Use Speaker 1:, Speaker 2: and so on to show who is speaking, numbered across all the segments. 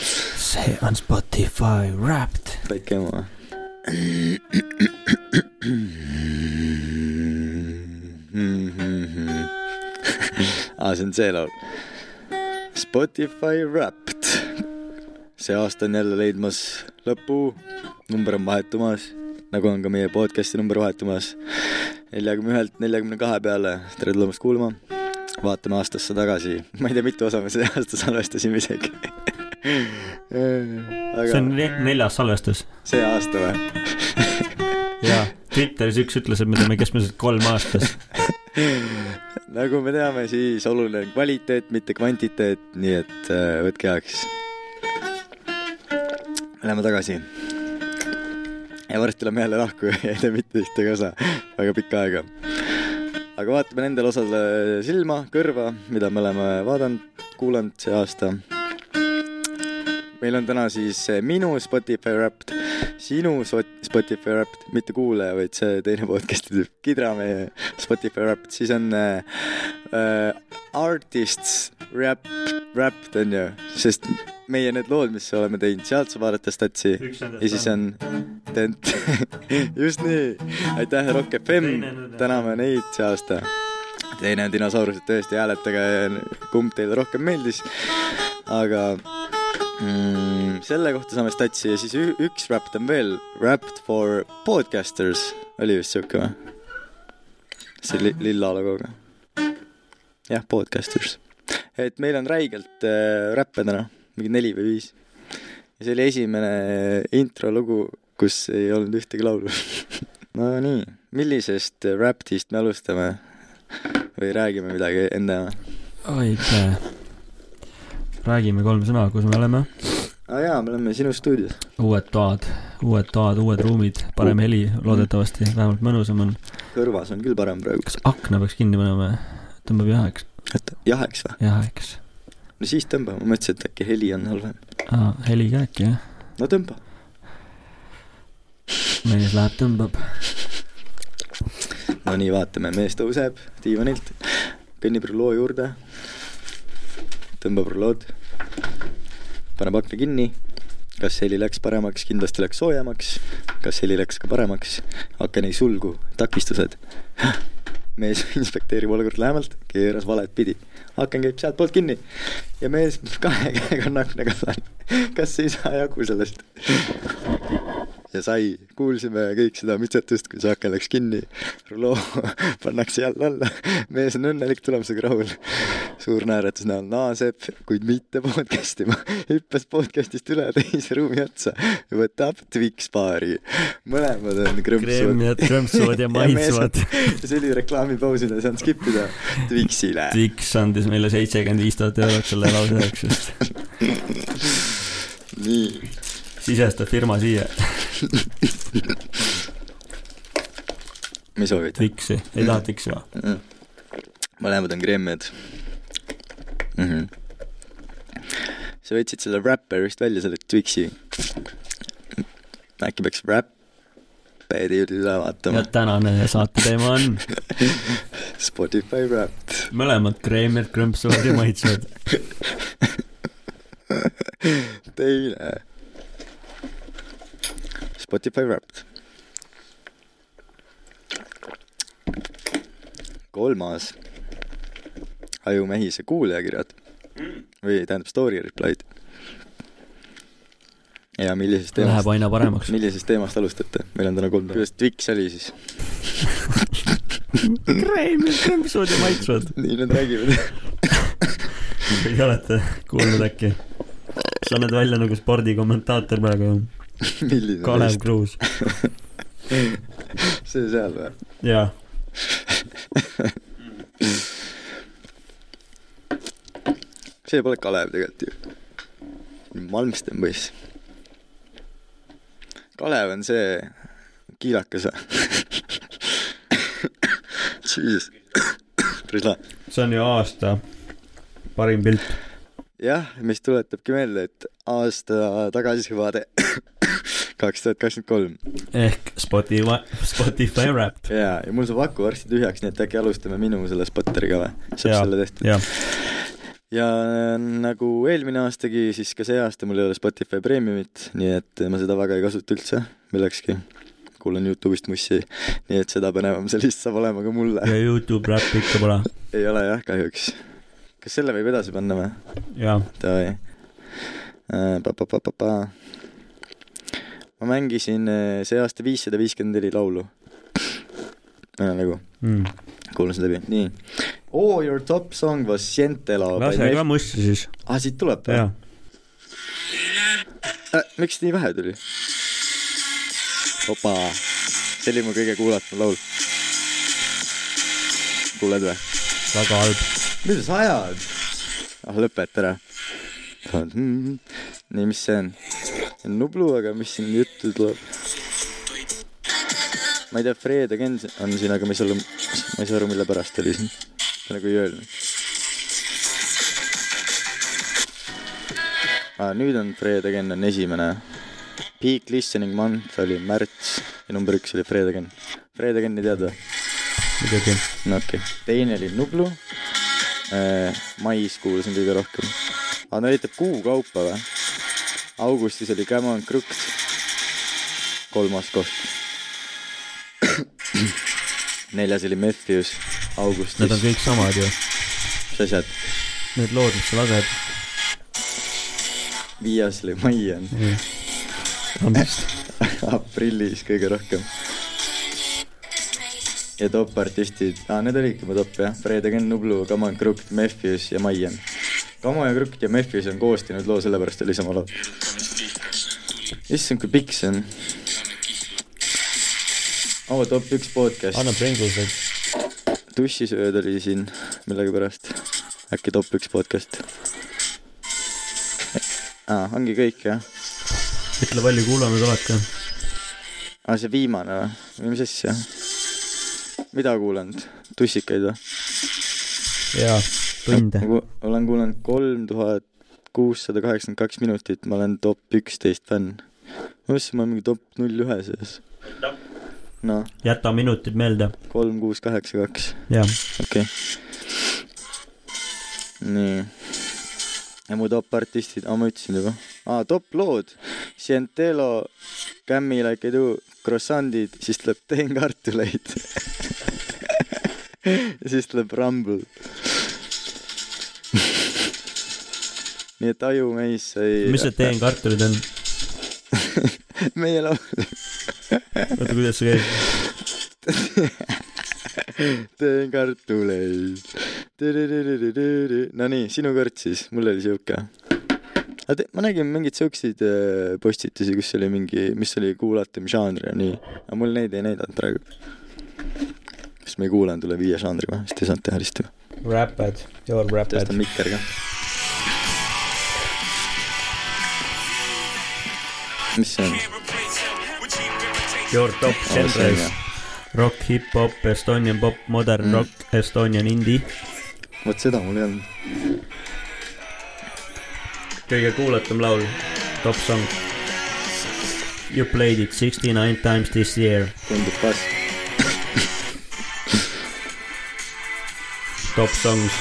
Speaker 1: see on Spotify Wrapped .
Speaker 2: väike ema . aa , Ah, see on see laul . Spotify Wrapped . see aasta on jälle leidmas lõpu , number on vahetumas , nagu on ka meie podcast'i number vahetumas . neljakümne ühelt neljakümne kahe peale , tere tulemast kuulama . vaatame aastasse tagasi , ma ei tea , mitu osa me see aasta salvestasime isegi .
Speaker 1: see on ne- neljas salvestus .
Speaker 2: see aasta või ?
Speaker 1: jaa , Twitteris üks ütles , et me teeme keskmiselt kolm aastas .
Speaker 2: nagu me teame , siis oluline on kvaliteet , mitte kvantiteet , nii et äh, võtke heaks . Läheme tagasi . ja varsti lähme jälle lahku ja ei tee mitte ühtegi osa , väga pikka aega . aga vaatame nendele osadele silma , kõrva , mida me oleme vaadanud , kuulanud see aasta . meil on täna siis minu Spotify Wrapped , sinu Spot- Spotify Wrapped , mitte kuulaja , vaid see teine podcast'i tüüp , Kidra meie Spotify Wrapped , siis on äh, äh, Artists Rap , Wrapped on ju , sest meie need lood , mis oleme teinud , sealt saab vaadata statsi
Speaker 1: Üks nendest
Speaker 2: ja siis on tent . just nii , aitäh , Rock FM
Speaker 1: Teine nüüd, , jah.
Speaker 2: täname neid see aasta . teine on dinosaurused , tõesti hääletage , kumb teile rohkem meeldis . aga mm, selle kohta saame statsi ja siis ü- üks Wrapped on veel , Wrapped for podcasters oli vist siuke või ? see li- , lilla logoga . jah , podcasters . et meil on räigelt äh, räppe täna , mingi neli või viis . ja see oli esimene äh, introlugu , kus ei olnud ühtegi laulu . Nonii , millisest räptist me alustame ? või räägime midagi enne ?
Speaker 1: aitäh . räägime kolm sõna , kus me oleme .
Speaker 2: aa jaa , me oleme sinu stuudios .
Speaker 1: uued toad , uued toad , uued ruumid , parem heli loodetavasti , vähemalt mõnusam on .
Speaker 2: kõrvas on küll parem praegu .
Speaker 1: kas akna peaks kinni panema või ? tõmbab jaheks ,
Speaker 2: et jaheks või ?
Speaker 1: jaheks .
Speaker 2: no siis tõmba , ma mõtlesin , et äkki heli on halvem .
Speaker 1: aa , heli ka äkki jah ?
Speaker 2: no tõmba .
Speaker 1: mees läheb , tõmbab .
Speaker 2: Nonii , vaatame , mees tõuseb diivanilt , kõnnib ruloo juurde , tõmbab rulood , paneb akna kinni . kas heli läks paremaks , kindlasti läks soojemaks , kas heli läks ka paremaks , aken ei sulgu , takistused . mees inspekteerib olukorda lähemalt , keeras valet pidi , aken käib sealtpoolt kinni ja mees kahe käega on akna kallal . kas ei saa jagu sellest ? ja sai , kuulsime kõik seda mitsetust , kui see aken läks kinni , ruloo pannakse jälle alla , mees on õnnelik tulemusega rahul . suur naeratus näol naaseb , kuid mitte podcast ima , hüppas podcast'ist üle teise ruumi otsa ja võtab Twix baari . mõlemad on
Speaker 1: Kremjad
Speaker 2: krõmpsuvad .
Speaker 1: krõmpsuvad ja maitsevad.
Speaker 2: see oli reklaamipausina , ei saanud skip ida Twixile .
Speaker 1: Dix andis meile seitsekümmend viis tuhat eurot selle lause jaoks , sest
Speaker 2: nii ,
Speaker 1: sisestab firma siia
Speaker 2: mis soovid ?
Speaker 1: Dixi , ei taha Dixi või ?
Speaker 2: Mm. mõlemad on kremmed mm . -hmm. sa võtsid selle räpperist välja , selle Twixi . äkki peaks räpperi üle vaatama
Speaker 1: ja ? tänane saate teema on
Speaker 2: Spotify Wrapped .
Speaker 1: mõlemad kreemid krõmpsuvad ja maitsevad .
Speaker 2: teine . Spotify Wrapped . kolmas . ajumehise kuulajakirjad või tähendab story replied . ja millisest teemast
Speaker 1: Läheb , aina paremaks .
Speaker 2: millisest teemast alustate , meil on täna kolm . kuidas Twix oli siis ?
Speaker 1: kreemid krõmpsuvad ja maitsevad .
Speaker 2: nii nad räägivad .
Speaker 1: ei olete kuulnud äkki ? sa oled välja nagu spordikommentaator praegu ,
Speaker 2: milline
Speaker 1: Kalev
Speaker 2: neist?
Speaker 1: Kruus .
Speaker 2: see seal või ?
Speaker 1: jaa .
Speaker 2: see pole Kalev tegelikult ju . Malmsten poiss . Kalev on see kiilakas või ? Jesus , päris lahe .
Speaker 1: see on ju aasta parim pilt .
Speaker 2: jah , mis tuletabki meelde , et aasta tagasivaade kaks tuhat kakskümmend kolm
Speaker 1: ehk Spotify , Spotify Wrapped .
Speaker 2: ja , ja mul saab aku varsti tühjaks , nii et äkki alustame minu selle spotteri ka või ? saab
Speaker 1: Jaa.
Speaker 2: selle tehtud ?
Speaker 1: jah ,
Speaker 2: ja nagu eelmine aastagi , siis ka see aasta mul ei ole Spotify Premiumit , nii et äh, ma seda väga ei kasuta üldse millekski . kuulan Youtube'ist mussi , nii et seda põnevam see lihtsalt saab olema ka mulle .
Speaker 1: ja Youtube Rap ikka pole .
Speaker 2: ei ole jah , kahjuks . kas selle võib edasi panna või ?
Speaker 1: jaa ,
Speaker 2: Davai . Äh, Pa-pa-pa-pa-pa . ma mängisin äh, see aasta viissada viiskümmend neli laulu . nagu
Speaker 1: mm.
Speaker 2: kuulasin läbi , nii . Oh your top song was Siente lao .
Speaker 1: lase ka mussi siis ,
Speaker 2: aa , siit tuleb või
Speaker 1: jaa ..
Speaker 2: Äh, miks nii vähe tuli ? opa , see oli mu kõige kuulatum laul . kuuled või ?
Speaker 1: väga halb .
Speaker 2: mida sa ajad ? ah , lõpeta ära . nii , mis see on ? Nublu , aga mis siin juttu tuleb ? ma ei tea , Fred Again on siin , aga ma ei saa , ma ei saa aru , mille pärast ta oli siin . ta nagu ei öelnud . Ah, nüüd on Fred Again on esimene . Peak listening month oli märts ja number üks oli Fred Again . Fred Again ei teadnud või ?
Speaker 1: muidugi .
Speaker 2: no okei okay. , teine oli Nublu . mais kuulasin kõige rohkem . aga ta näitab kuu kaupa või ? augustis oli Come on Crooks . kolmas koht . neljas oli Matthews ,
Speaker 1: Need on
Speaker 2: augustis .
Speaker 1: kõik samad ju .
Speaker 2: mis asjad ?
Speaker 1: Need lood , mis sa lased .
Speaker 2: viies oli Maian ,
Speaker 1: Tammist .
Speaker 2: aprillis kõige rohkem . ja top artistid , aa need olidki mu top jah , Fred Again , Nublu , Come on Crooks , Matthews ja Maian . Come on Crooks ja Matthews on koos teinud loo , sellepärast oli sama loo . issand , kui pikk see on . oo , top üks podcast ,
Speaker 1: anna Pringlesid .
Speaker 2: tussisööd oli siin millegipärast . äkki top üks podcast . aa , ongi kõik jah ?
Speaker 1: ütle , palju kuulanud olete ?
Speaker 2: aa , Ah, see viimane või ? või mis asja ? mida kuulanud ? tussikaid või ?
Speaker 1: jaa , tunde .
Speaker 2: nagu olen kuulanud kolm tuhat kuussada kaheksakümmend kaks minutit , ma olen top üksteist fänn . ma mõtlesin , ma olen mingi top null ühe sees . noh ,
Speaker 1: jäta minutid meelde .
Speaker 2: kolm , kuus , kaheksa , kaks ,
Speaker 1: jaa ,
Speaker 2: okei okay. . nii . ja mu top artistid , aa ma ütlesin juba . aa , top lood . Sientelo , Cammi Like I Do , Croissandid , siis tuleb Teen kartuleid . ja siis tuleb Rumble . nii et Aju Meis sai .
Speaker 1: mis see teen ? kartulid on ?
Speaker 2: meie laul .
Speaker 1: oota , kuidas see käib ?
Speaker 2: teen kartuleid . Nonii , sinu kord siis , mul oli siuke . aga te, ma nägin mingeid siukseid äh, postitusi , kus oli mingi , mis oli kuulatum žanr ja nii , aga mul neid ei näidanud praegu . kas me ei kuulanud üle viie žanri või , siis te ei saanud teha risti või ?
Speaker 1: Rapid , your rapid
Speaker 2: tõstan . mikker ka . mis see on ?
Speaker 1: Your top
Speaker 2: Oh,
Speaker 1: genres . Rock , hip-hop , Estonian pop , modern
Speaker 2: Mm.
Speaker 1: mm. rock , Estonian indie .
Speaker 2: vot seda mul ei olnud .
Speaker 1: kõige kuulatum laul , top song . You played it sixty nine times this year ,
Speaker 2: tundub pass .
Speaker 1: top songs .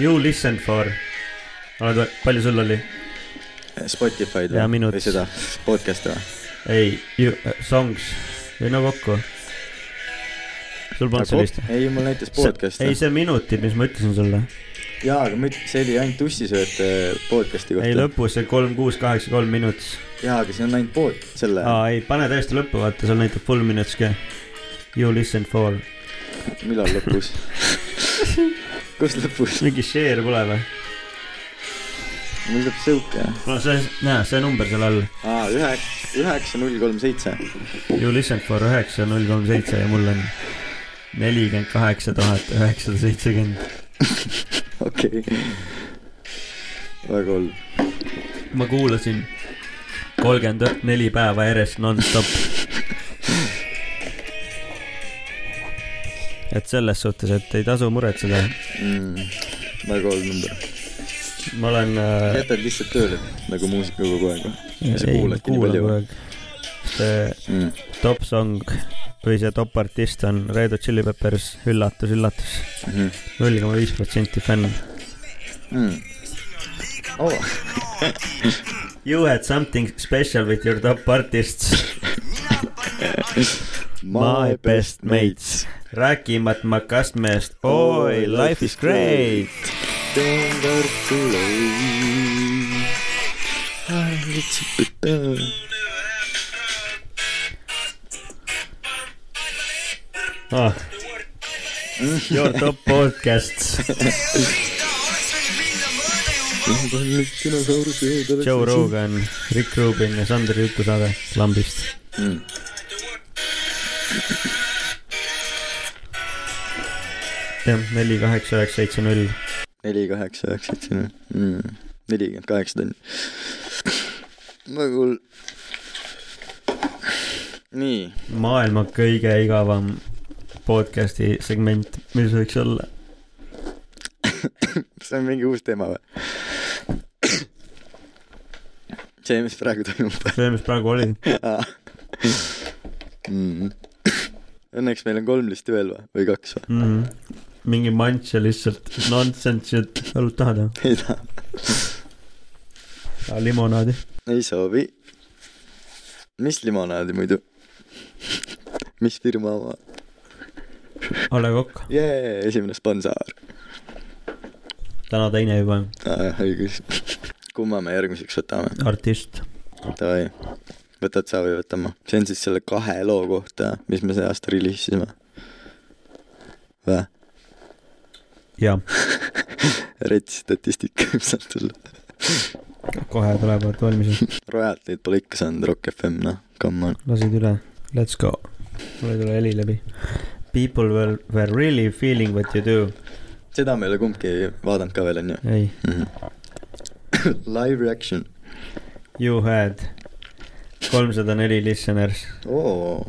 Speaker 1: You listened for . oled , palju sul oli ?
Speaker 2: Spotify'd
Speaker 1: Jaa,
Speaker 2: või
Speaker 1: minut. ?
Speaker 2: või seda podcast'i või ?
Speaker 1: ei , you , songs , ei no kokku . sul polnud
Speaker 2: Nagu
Speaker 1: sellist ?
Speaker 2: ei , mul näitas
Speaker 1: ei ,
Speaker 2: podcast'i .
Speaker 1: see minutid , mis ma ütlesin sulle .
Speaker 2: jaa , aga ma ütlen , see oli ainult ussisööte podcast'i
Speaker 1: ei
Speaker 2: kohta .
Speaker 1: lõpus see kolm , kuus , kaheksa , kolm minutit .
Speaker 2: jaa , aga see on ainult pood , selle ,
Speaker 1: aa ei , pane täiesti lõppu , vaata seal näitab full minutes ka . You listen for .
Speaker 2: millal lõpus ? kus lõpus ?
Speaker 1: mingi share pole või ?
Speaker 2: mul tuleb siuke .
Speaker 1: no see , näe , see number seal all .
Speaker 2: aa , ühe , üheksa , null , kolm , seitse .
Speaker 1: You listen for üheksa , null , kolm , seitse ja mul on nelikümmend kaheksa tuhat üheksasada seitsekümmend .
Speaker 2: okei . väga hull .
Speaker 1: ma kuulasin kolmkümmend neli päeva järjest nonstop . et selles suhtes , et ei tasu muretseda .
Speaker 2: Mm. väga hull number .
Speaker 1: ma olen äh,
Speaker 2: jätad lihtsalt tööle nagu muusika kogu aeg või ? ja sa
Speaker 1: ei,
Speaker 2: kuuladki nii
Speaker 1: kuulan
Speaker 2: palju
Speaker 1: kogu
Speaker 2: või ?
Speaker 1: aeg. et
Speaker 2: mm. .
Speaker 1: top song või see top artist on Red Hot Chili Peppers , üllatus , üllatus ,
Speaker 2: Mm.
Speaker 1: null koma viis protsenti fänn .
Speaker 2: Mm. Oh.
Speaker 1: You had something special with your top artists , My best mates. rääkimata Makastmest , oi , life is great . ah. . Your top podcast , Joe Rogan , Rick Rubin ja Sandri jutusaade lambist .
Speaker 2: mm. .
Speaker 1: jah , neli , kaheksa , üheksa , seitse , null .
Speaker 2: neli , kaheksa , üheksa , seitse , null . mm, nelikümmend kaheksa tonni . väga hull . nii ,
Speaker 1: maailma kõige igavam podcast'i segment , mis võiks olla .
Speaker 2: see on mingi uus teema või ? see , mis praegu toimub
Speaker 1: see , mis praegu oli .
Speaker 2: Aa. mm. . Õnneks meil on kolm listi veel või , või kaks või ?
Speaker 1: Mm -hmm. mingi mantš ja lihtsalt nonsense shit , hullult tahad või ?
Speaker 2: ei taha ,
Speaker 1: limonaadi .
Speaker 2: ei soovi . mis limonaadi muidu ? mis firma oma ?
Speaker 1: A Le Coq ,
Speaker 2: jee , esimene sponsaar .
Speaker 1: täna teine juba ,
Speaker 2: Ah, õigus . kumma me järgmiseks võtame ?
Speaker 1: artist .
Speaker 2: Davai , võtad sa või võtan ma ? see on siis selle kahe loo kohta , mis me see aasta reliisisime . vä ?
Speaker 1: ja
Speaker 2: rets statistika võib sealt tulla .
Speaker 1: kohe tulevad valmis ,
Speaker 2: Royaltid pole ikka saanud , Rock FM , noh , come on .
Speaker 1: lasid üle , let's go . mul ei tule heli läbi . People were , were really feeling what you do .
Speaker 2: seda me ei ole kumbki vaadanud ka veel , onju
Speaker 1: ei ,
Speaker 2: mm. . Live reaction
Speaker 1: you had kolmsada neli listeners .
Speaker 2: oh, .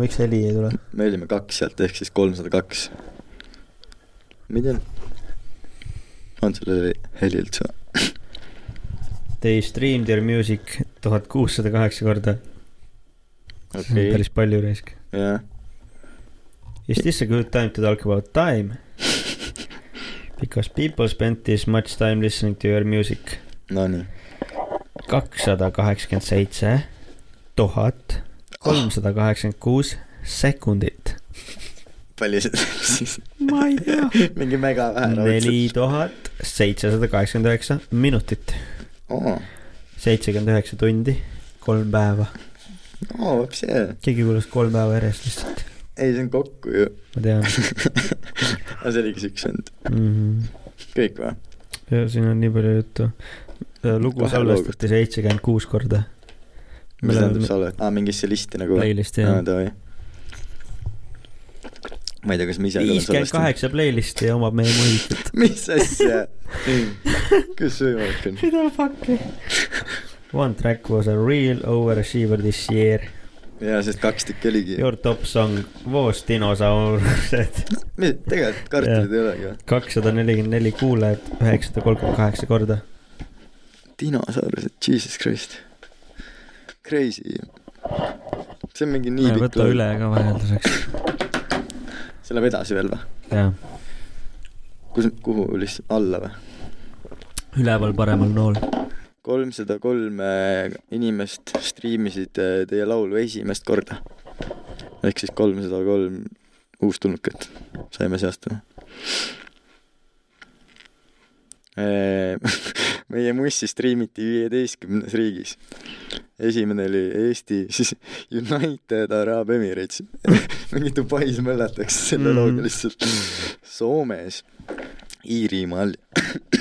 Speaker 1: miks heli ei tule ?
Speaker 2: me olime kaks sealt , ehk siis kolmsada kaks . ma ei tea , on sul heli- heli üldse või ?
Speaker 1: They streamed your music tuhat kuussada kaheksa korda . see on
Speaker 2: okei ,
Speaker 1: Mm, päris palju raisk .
Speaker 2: jah .
Speaker 1: Is this a good time to talk about time ? Because people spent this much time listening to your music .
Speaker 2: Nonii ,
Speaker 1: kakssada kaheksakümmend seitse tuhat kolmsada kaheksakümmend kuus sekundit .
Speaker 2: palju see siis ,
Speaker 1: ma ei tea .
Speaker 2: mingi mega vähe
Speaker 1: neli tuhat seitsesada kaheksakümmend üheksa minutit ,
Speaker 2: oo ,
Speaker 1: seitsekümmend üheksa tundi , kolm päeva .
Speaker 2: oo , vapsi hea .
Speaker 1: keegi kuulas kolm päeva järjest lihtsalt ,
Speaker 2: ei , see on kokku ju .
Speaker 1: ma tean
Speaker 2: aga see oligi siukse olnud ,
Speaker 1: mm . -hmm
Speaker 2: kõik või ?
Speaker 1: ja siin on nii palju juttu . lugu
Speaker 2: Kahe
Speaker 1: salvestati seitsekümmend kuus korda .
Speaker 2: mis
Speaker 1: Meil on-
Speaker 2: tähendab sa oled , aa mingisse listi nagu või ?
Speaker 1: playlist'i
Speaker 2: aa ,
Speaker 1: jah .
Speaker 2: davai . ma ei tea , kas ma ise ka olen
Speaker 1: viiskümmend
Speaker 2: salvestanud .
Speaker 1: kaheksa playlist'i omab meie muusik .
Speaker 2: mis asja ? kus võimalik on ?
Speaker 1: mida fuck'i ? One track was a real overachiever this year .
Speaker 2: jaa , sest kaks tükki oligi .
Speaker 1: Your top song was dinosaurused .
Speaker 2: tegelikult kartulid ei olegi või ?
Speaker 1: kakssada nelikümmend neli kuulajat , üheksasada kolmkümmend kaheksa korda .
Speaker 2: dinosaurused , jesus christ . Crazy . see on mingi nii pikk
Speaker 1: võta . üle ka vahelduseks .
Speaker 2: see läheb edasi veel või ?
Speaker 1: jah ,
Speaker 2: kus , kuhu lihtsalt , alla või ?
Speaker 1: üleval paremal nool .
Speaker 2: kolmsada kolm äh, inimest striimisid äh, teie laulu esimest korda . ehk siis kolmsada kolm uustulnukat saime see aasta . meie mussi striimiti viieteistkümnes riigis . esimene oli Eesti , siis United Arab Emirates , mingi Dubais möllatakse selle
Speaker 1: Mhm.
Speaker 2: looga lihtsalt , Soomes , Iirimaal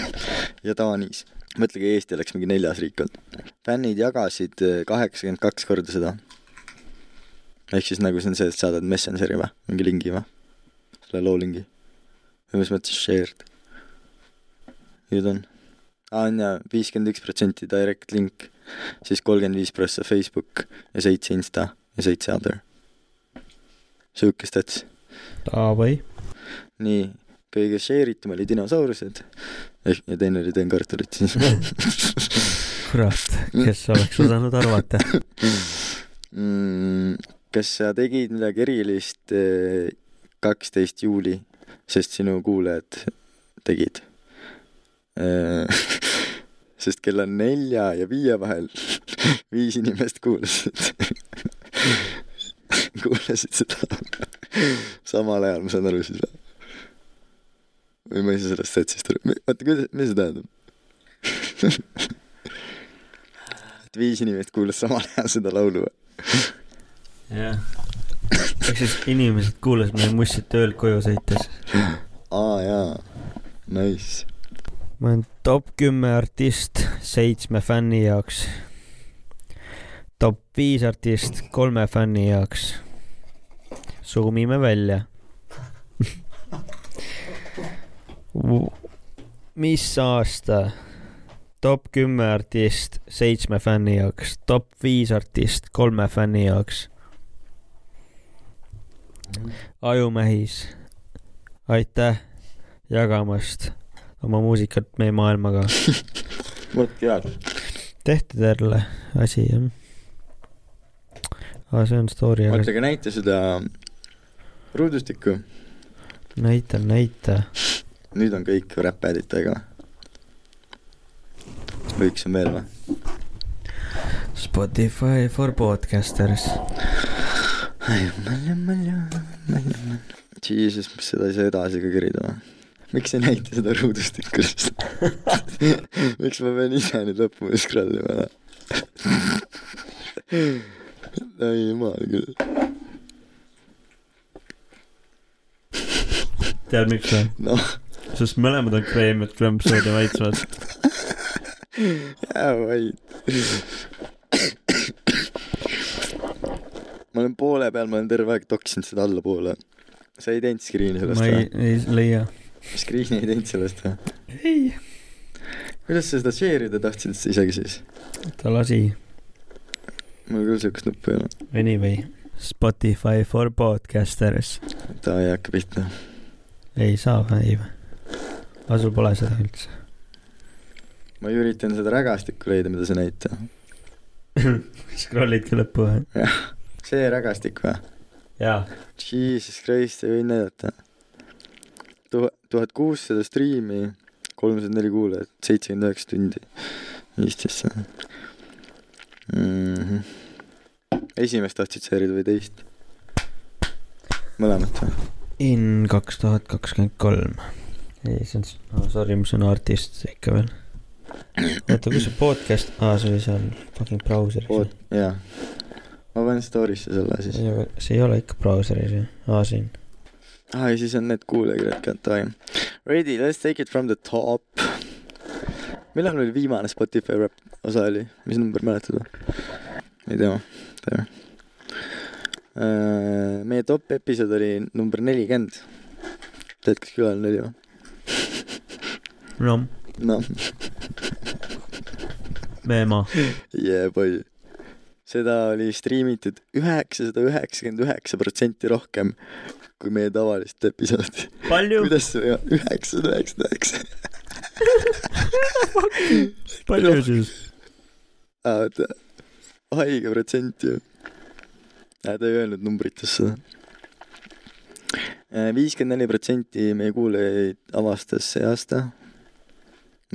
Speaker 2: ja Taanis mõtlegi Eesti oleks mingi neljas riik olnud . fännid jagasid kaheksakümmend kaks korda seda . ehk siis nagu see on see , et saadad Messengeri või mingi lingi või ? selle loo lingi . või mis mõttes shared ? nüüd on . aa on jaa , viiskümmend üks protsenti direct link , siis kolmkümmend viis prossa Facebook ja seitse Insta ja seitse other . sihuke stats .
Speaker 1: Davai ,
Speaker 2: nii , kõige share itum oli dinosaurused ehk ja teine oli teen kartulit siis .
Speaker 1: kurat , kes oleks osanud arvata .
Speaker 2: mm, . kas sa tegid midagi erilist eh, kaksteist juuli , sest sinu kuulajad tegid ? sest kella nelja ja viie vahel viis inimest kuulasid , kuulasid seda samal ajal , ma saan aru siis või ? või ma ei saa sellest setsist aru , oota , kuidas , mis see tähendab ? et viis inimest kuulas samal ajal seda laulu või ?
Speaker 1: jah . ehk siis inimesed kuulasid meie mussi tööl koju sõites .
Speaker 2: aa jaa , nice .
Speaker 1: ma olen top kümme artist seitsme fänni jaoks . top viis artist kolme fänni jaoks . suumime välja . mis aasta ? top kümme artist seitsme fänni jaoks , top viis artist kolme fänni jaoks . ajumähis , aitäh jagamast oma muusikat meie maailmaga .
Speaker 2: vot jaa .
Speaker 1: tehtud jälle asi jah . aa , see on story ,
Speaker 2: oota ,
Speaker 1: aga
Speaker 2: aga näita seda ruudustikku .
Speaker 1: näita , näita .
Speaker 2: nüüd on kõik räpp-ädid taga . võiks on veel või ?
Speaker 1: Spotify for podcasters .
Speaker 2: Jesus , mis seda ei saa edasi ka kerida või ? miks ei näita seda ruudustikku siis ? miks ma pean ise nüüd lõpuni scroll ima või ? ei jumal küll .
Speaker 1: tead miks või ?
Speaker 2: noh ,
Speaker 1: sest mõlemad on kreemid , krõmpsud ja maitsvad .
Speaker 2: jää vait . ma olen poole peal , ma olen terve aeg toksinud seda allapoole . sa ei teinud screen'i sellest
Speaker 1: ma ei
Speaker 2: või ?,
Speaker 1: ei leia .
Speaker 2: Screen'i ei teinud sellest või ?
Speaker 1: ei .
Speaker 2: kuidas sa seda share ida tahtsid isegi siis ?
Speaker 1: ta lasi .
Speaker 2: mul küll siukest nuppu ei ole .
Speaker 1: Anyway . Spotify for podcasters .
Speaker 2: ta ei hakka pihta .
Speaker 1: ei saa või , ei või ? aga sul pole seda üldse .
Speaker 2: ma üritan seda rägastikku leida , mida sa näita .
Speaker 1: Scrollidki lõppu või ?
Speaker 2: see rägastik või ?
Speaker 1: jaa .
Speaker 2: Jesus Christ , ei võinud näidata . tuhat , tuhat kuussada striimi , kolmsada neli kuulajat , seitsekümmend üheksa tundi . viisteist sõna mm . -hmm. esimest tahtsid sa erida või teist ? mõlemat või ?
Speaker 1: in kaks tuhat kakskümmend kolm . ei , see on oh, , sorry , ma sõna artist ikka veel . oota , kus see podcast , aa , see oli seal fucking brauseris .
Speaker 2: oot , jaa . ma panen story'sse selle siis .
Speaker 1: see ei ole ikka brauseris ju , aa siin .
Speaker 2: aa , Ah, ja siis on need kuulajakirjad ka , davai . Ready , let's take it from the top . millal meil viimane Spotify rap osa oli , mis number mäletad või ? ei tea , tere . meie top episood oli number nelikümmend . tead , kas külaline oli või ?
Speaker 1: no ,
Speaker 2: noh ,
Speaker 1: me ema .
Speaker 2: yeah boy . seda oli striimitud üheksasada üheksakümmend üheksa protsenti rohkem kui meie tavalist episoodi .
Speaker 1: palju ,
Speaker 2: kuidas see üheksasada üheksakümmend üheksa ?
Speaker 1: palju siis ?
Speaker 2: aa , oota , haige protsent ju . ta ei öelnud numbrites seda . viiskümmend neli protsenti meie kuulajaid avastas see aasta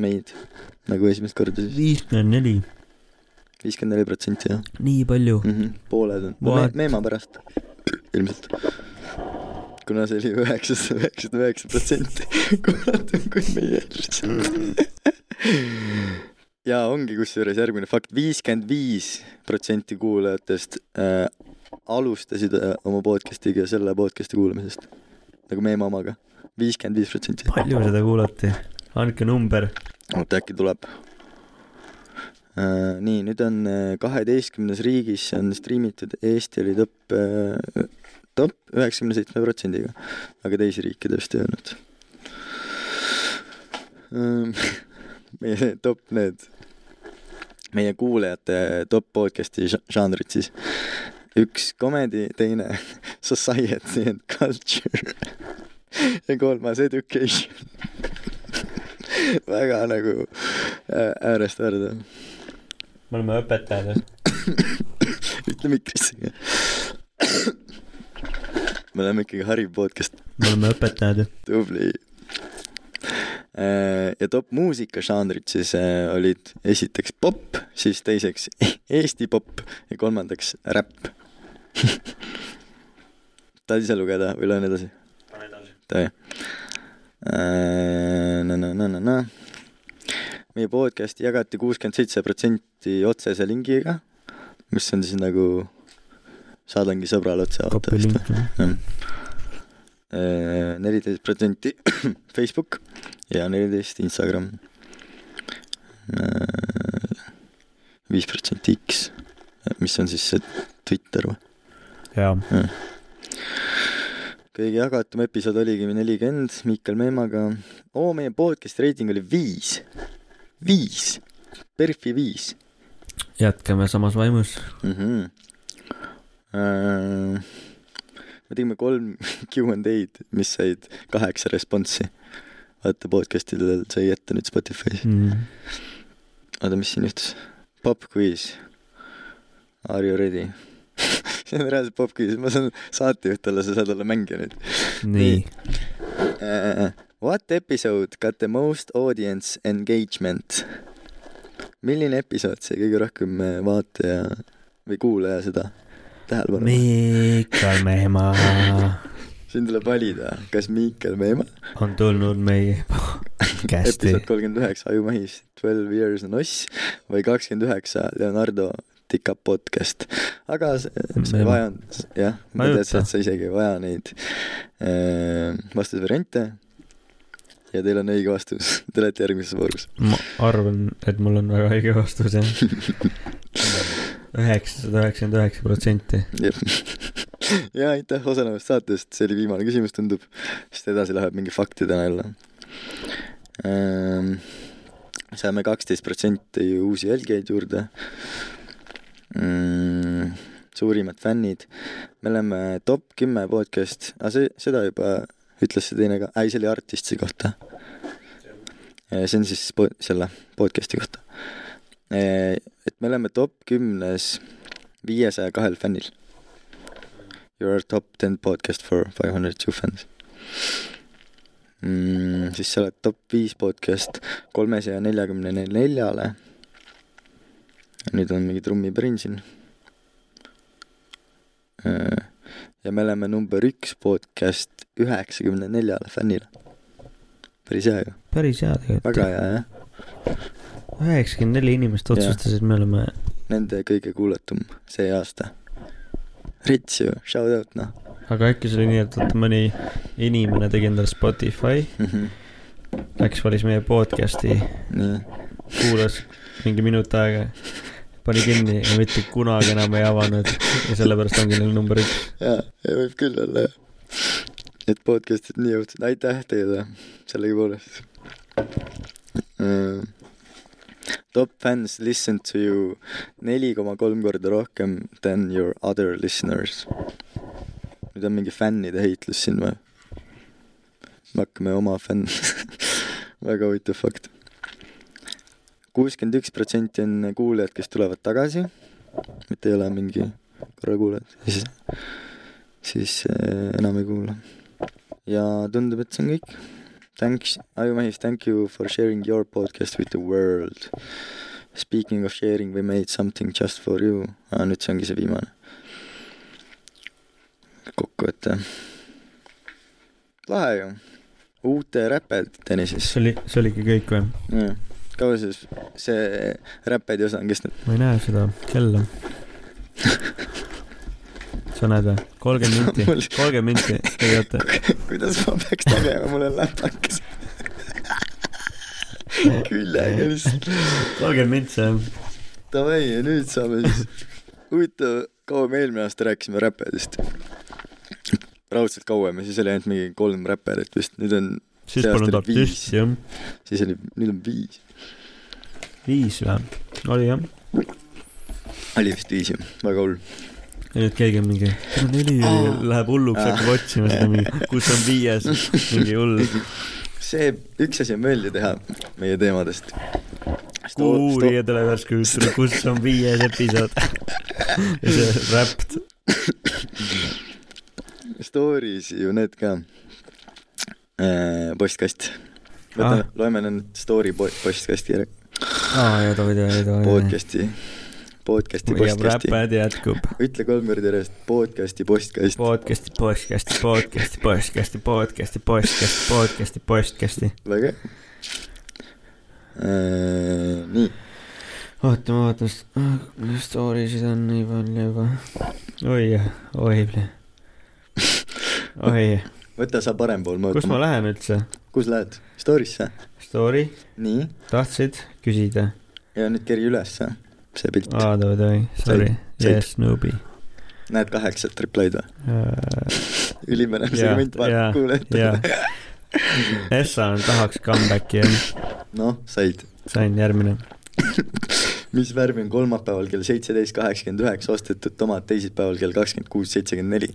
Speaker 2: meid nagu esimest korda siis .
Speaker 1: viiskümmend neli ,
Speaker 2: viiskümmend neli protsenti jah
Speaker 1: nii palju .
Speaker 2: mm -hmm. , pooled on
Speaker 1: What?
Speaker 2: Me . meema pärast ilmselt . kuna see oli üheksasada üheksakümmend üheksa protsenti kuulatum kui meie eelmised . ja ongi kusjuures järgmine fakt , viiskümmend viis protsenti kuulajatest äh, alustasid äh, oma podcast'iga selle podcast'i kuulamisest . nagu meema omaga , viiskümmend viis protsenti .
Speaker 1: palju seda kuulati ? andke number .
Speaker 2: oota , äkki tuleb . nii , nüüd on äh, kaheteistkümnes riigis on striimitud , Eesti oli top , top üheksakümne seitsme protsendiga , aga teisi riike tõesti ei olnud . meie top need , meie kuulajate top podcast'i ža- žanrid siis . üks comedy , teine society and culture ja kolmas education . väga nagu ä- äärest äärde .
Speaker 1: me oleme õpetajad .
Speaker 2: ütle mikrisse . me oleme ikkagi hariv podcast ,
Speaker 1: me oleme õpetajad ju .
Speaker 2: tubli . ja top muusikažanrid siis äh, olid esiteks pop , siis teiseks Eesti pop ja kolmandaks räpp . tahad ise lugeda või loen edasi ?
Speaker 1: pane edasi .
Speaker 2: Davai. Äh, na-na-na-na-na . meie podcast'i jagati kuuskümmend seitse protsenti otsese lingiga , mis on siis nagu , saadangi sõbrale otse .
Speaker 1: kopilink .
Speaker 2: neliteist protsenti Facebook ja neliteist Instagram . viis protsenti X , mis on siis see Twitter või ?
Speaker 1: jaa .
Speaker 2: kõige jagatum episood oligi nelikümmend Miikal Meemaga . oo , meie podcast'i reiting oli viis , viis , perfi viis
Speaker 1: jätkame samas vaimus .
Speaker 2: mm . -hmm. Äh, me tegime kolm Q and A-d , mis said kaheksa responsi . vaata podcast'idel sai ette nüüd Spotify's .
Speaker 1: Mm,
Speaker 2: oota , mis siin juhtus ? popquiz . Are you ready ? see on reaalselt popquiz , ma saan saatejuht olla , sa saad olla mängija nüüd .
Speaker 1: nii .
Speaker 2: Uh, what episode got the most audience engagement ? milline episood sai kõige rohkem äh, vaataja või kuulaja seda tähelepanu ?
Speaker 1: Miikal Mehma
Speaker 2: siin tuleb valida , kas Miikal Meema ,
Speaker 1: on tulnud meie podcast'i
Speaker 2: episood . kolmkümmend üheksa Ajumehis , Twelve Years on oss või kakskümmend üheksa Leonardo Tikab podcast . aga see- sa ei
Speaker 1: Meema.
Speaker 2: vaja , jah , ma tean ,
Speaker 1: Vajuta.
Speaker 2: et sa isegi ei vaja neid äh, vastusvariante . ja teil on õige vastus , te olete järgmises voorus .
Speaker 1: ma arvan , et mul on väga õige vastus jah . üheksasada üheksakümmend üheksa protsenti .
Speaker 2: jah ja aitäh osalemast saatest , see oli viimane küsimus , tundub , sest edasi läheb mingi faktide nalja ähm, . saame kaksteist protsenti uusi jälgijaid juurde mm, . suurimad fännid , me oleme top kümme podcast , aga see , seda juba ütles see teine ka , ei see oli artisti kohta . see on siis po- selle podcast'i kohta . et me oleme top kümnes viiesaja kahel fännil . You are top ten podcast for five hundred two fans mm, . siis sa oled top viis podcast kolmesaja neljakümne neljale . nüüd on mingi trummipärin siin . ja me oleme number üks podcast üheksakümne neljale fännile . päris hea ju ,
Speaker 1: päris hea
Speaker 2: väga
Speaker 1: tegelikult .
Speaker 2: hea jah ,
Speaker 1: üheksakümmend neli inimest otsustas , et me oleme
Speaker 2: nende kõige kuulatum see aasta . Rits ju , shout out noh
Speaker 1: aga äkki see oli nii , et vaata mõni inimene tegi endale Spotify ,
Speaker 2: mm . -hmm.
Speaker 1: läks valis meie podcast'i ,
Speaker 2: nii
Speaker 1: kuulas mingi minut aega , pani kinni ja mitte kunagi enam ei avanud ja sellepärast ongi neil number üks .
Speaker 2: jaa , võib küll olla jah . et podcast'id nii õudsed , aitäh teile sellegipoolest mm. . Top fans listen to you neli koma kolm korda rohkem than your other listeners . nüüd on mingi fännide heitlus siin või ? me hakkame oma fänn , väga huvitav fakt . kuuskümmend üks protsenti on kuulajad , kes tulevad tagasi , mitte ei ole mingi korra kuulajad ja siis siis äh, enam ei kuula . ja tundub , et see on kõik . Thanks , Ajumehis , thank you for sharing your podcast with the world . Speaking of sharing , we made something just for you ah, . nüüd see ongi see viimane . kokkuvõte . lahe ju . uute räpeteni siis .
Speaker 1: see oli , see oligi kõik või ?
Speaker 2: kaua siis see räpedi osa on kestnud ?
Speaker 1: ma ei näe seda kella . sa näed või ? kolmkümmend minti , kolmkümmend minti , ei oota .
Speaker 2: kuidas ma peaks tegema , mul on läpakas küljega lihtsalt .
Speaker 1: kolmkümmend minti see on .
Speaker 2: Davai , ja nüüd saame siis , huvitav , kaua me eelmine aasta rääkisime räpperitest ? raudselt kauem ja siis oli ainult mingi kolm räpperit vist , nüüd on ,
Speaker 1: siis
Speaker 2: See aasta
Speaker 1: polnud
Speaker 2: oli viis.
Speaker 1: artist jah .
Speaker 2: siis oli , nüüd on viis .
Speaker 1: viis või ? oli jah .
Speaker 2: oli vist viis ju , väga hull .
Speaker 1: ja nüüd keegi on mingi , tal on neli ja läheb hulluks , hakkab otsima seda mingi , kus on viies , mingi hull .
Speaker 2: see , üks asi on meelde teha meie teemadest ,
Speaker 1: kuulija tuleb järsku ütlema , kus on viies episood . ja see räpp ,
Speaker 2: Stories ju need ka . postkast . võtame
Speaker 1: Ah.
Speaker 2: ah. , loeme need story po- postkasti ,
Speaker 1: aa ja tohi , tohi , tohi .
Speaker 2: podcasti , podcasti
Speaker 1: ja
Speaker 2: postkasti .
Speaker 1: Räpäd jätkub .
Speaker 2: ütle kolm korda järjest podcasti postkast .
Speaker 1: podcast'i , podcast'i , podcast'i , podcast'i , podcast'i , podcast'i , podcast'i , podcast'i .
Speaker 2: väga hea . nii ,
Speaker 1: oota , ma vaatan , story sid on nii palju juba . oi , oi , oi ,
Speaker 2: võta sa parempool , ma
Speaker 1: kus ma . lähen üldse ?
Speaker 2: kus lähed ? Story'sse ?
Speaker 1: Story ,
Speaker 2: nii ,
Speaker 1: tahtsid küsida ?
Speaker 2: ja nüüd kergi ülesse , see pilt .
Speaker 1: aa , davai , davai , sorry ,
Speaker 2: said.
Speaker 1: yes , Nubi .
Speaker 2: näed kaheksat replied või ? ülimene
Speaker 1: Jaa, jaa,
Speaker 2: segment ,
Speaker 1: Äh,
Speaker 2: vaata ,
Speaker 1: jaa
Speaker 2: kuulajad .,
Speaker 1: Essa on tahaks comeback'i jah ,
Speaker 2: noh , said .
Speaker 1: sain järgmine .
Speaker 2: mis värvi on kolmapäeval kell seitseteist kaheksakümmend üheksa ostetud tomat teisipäeval kell kakskümmend kuus seitsekümmend neli ?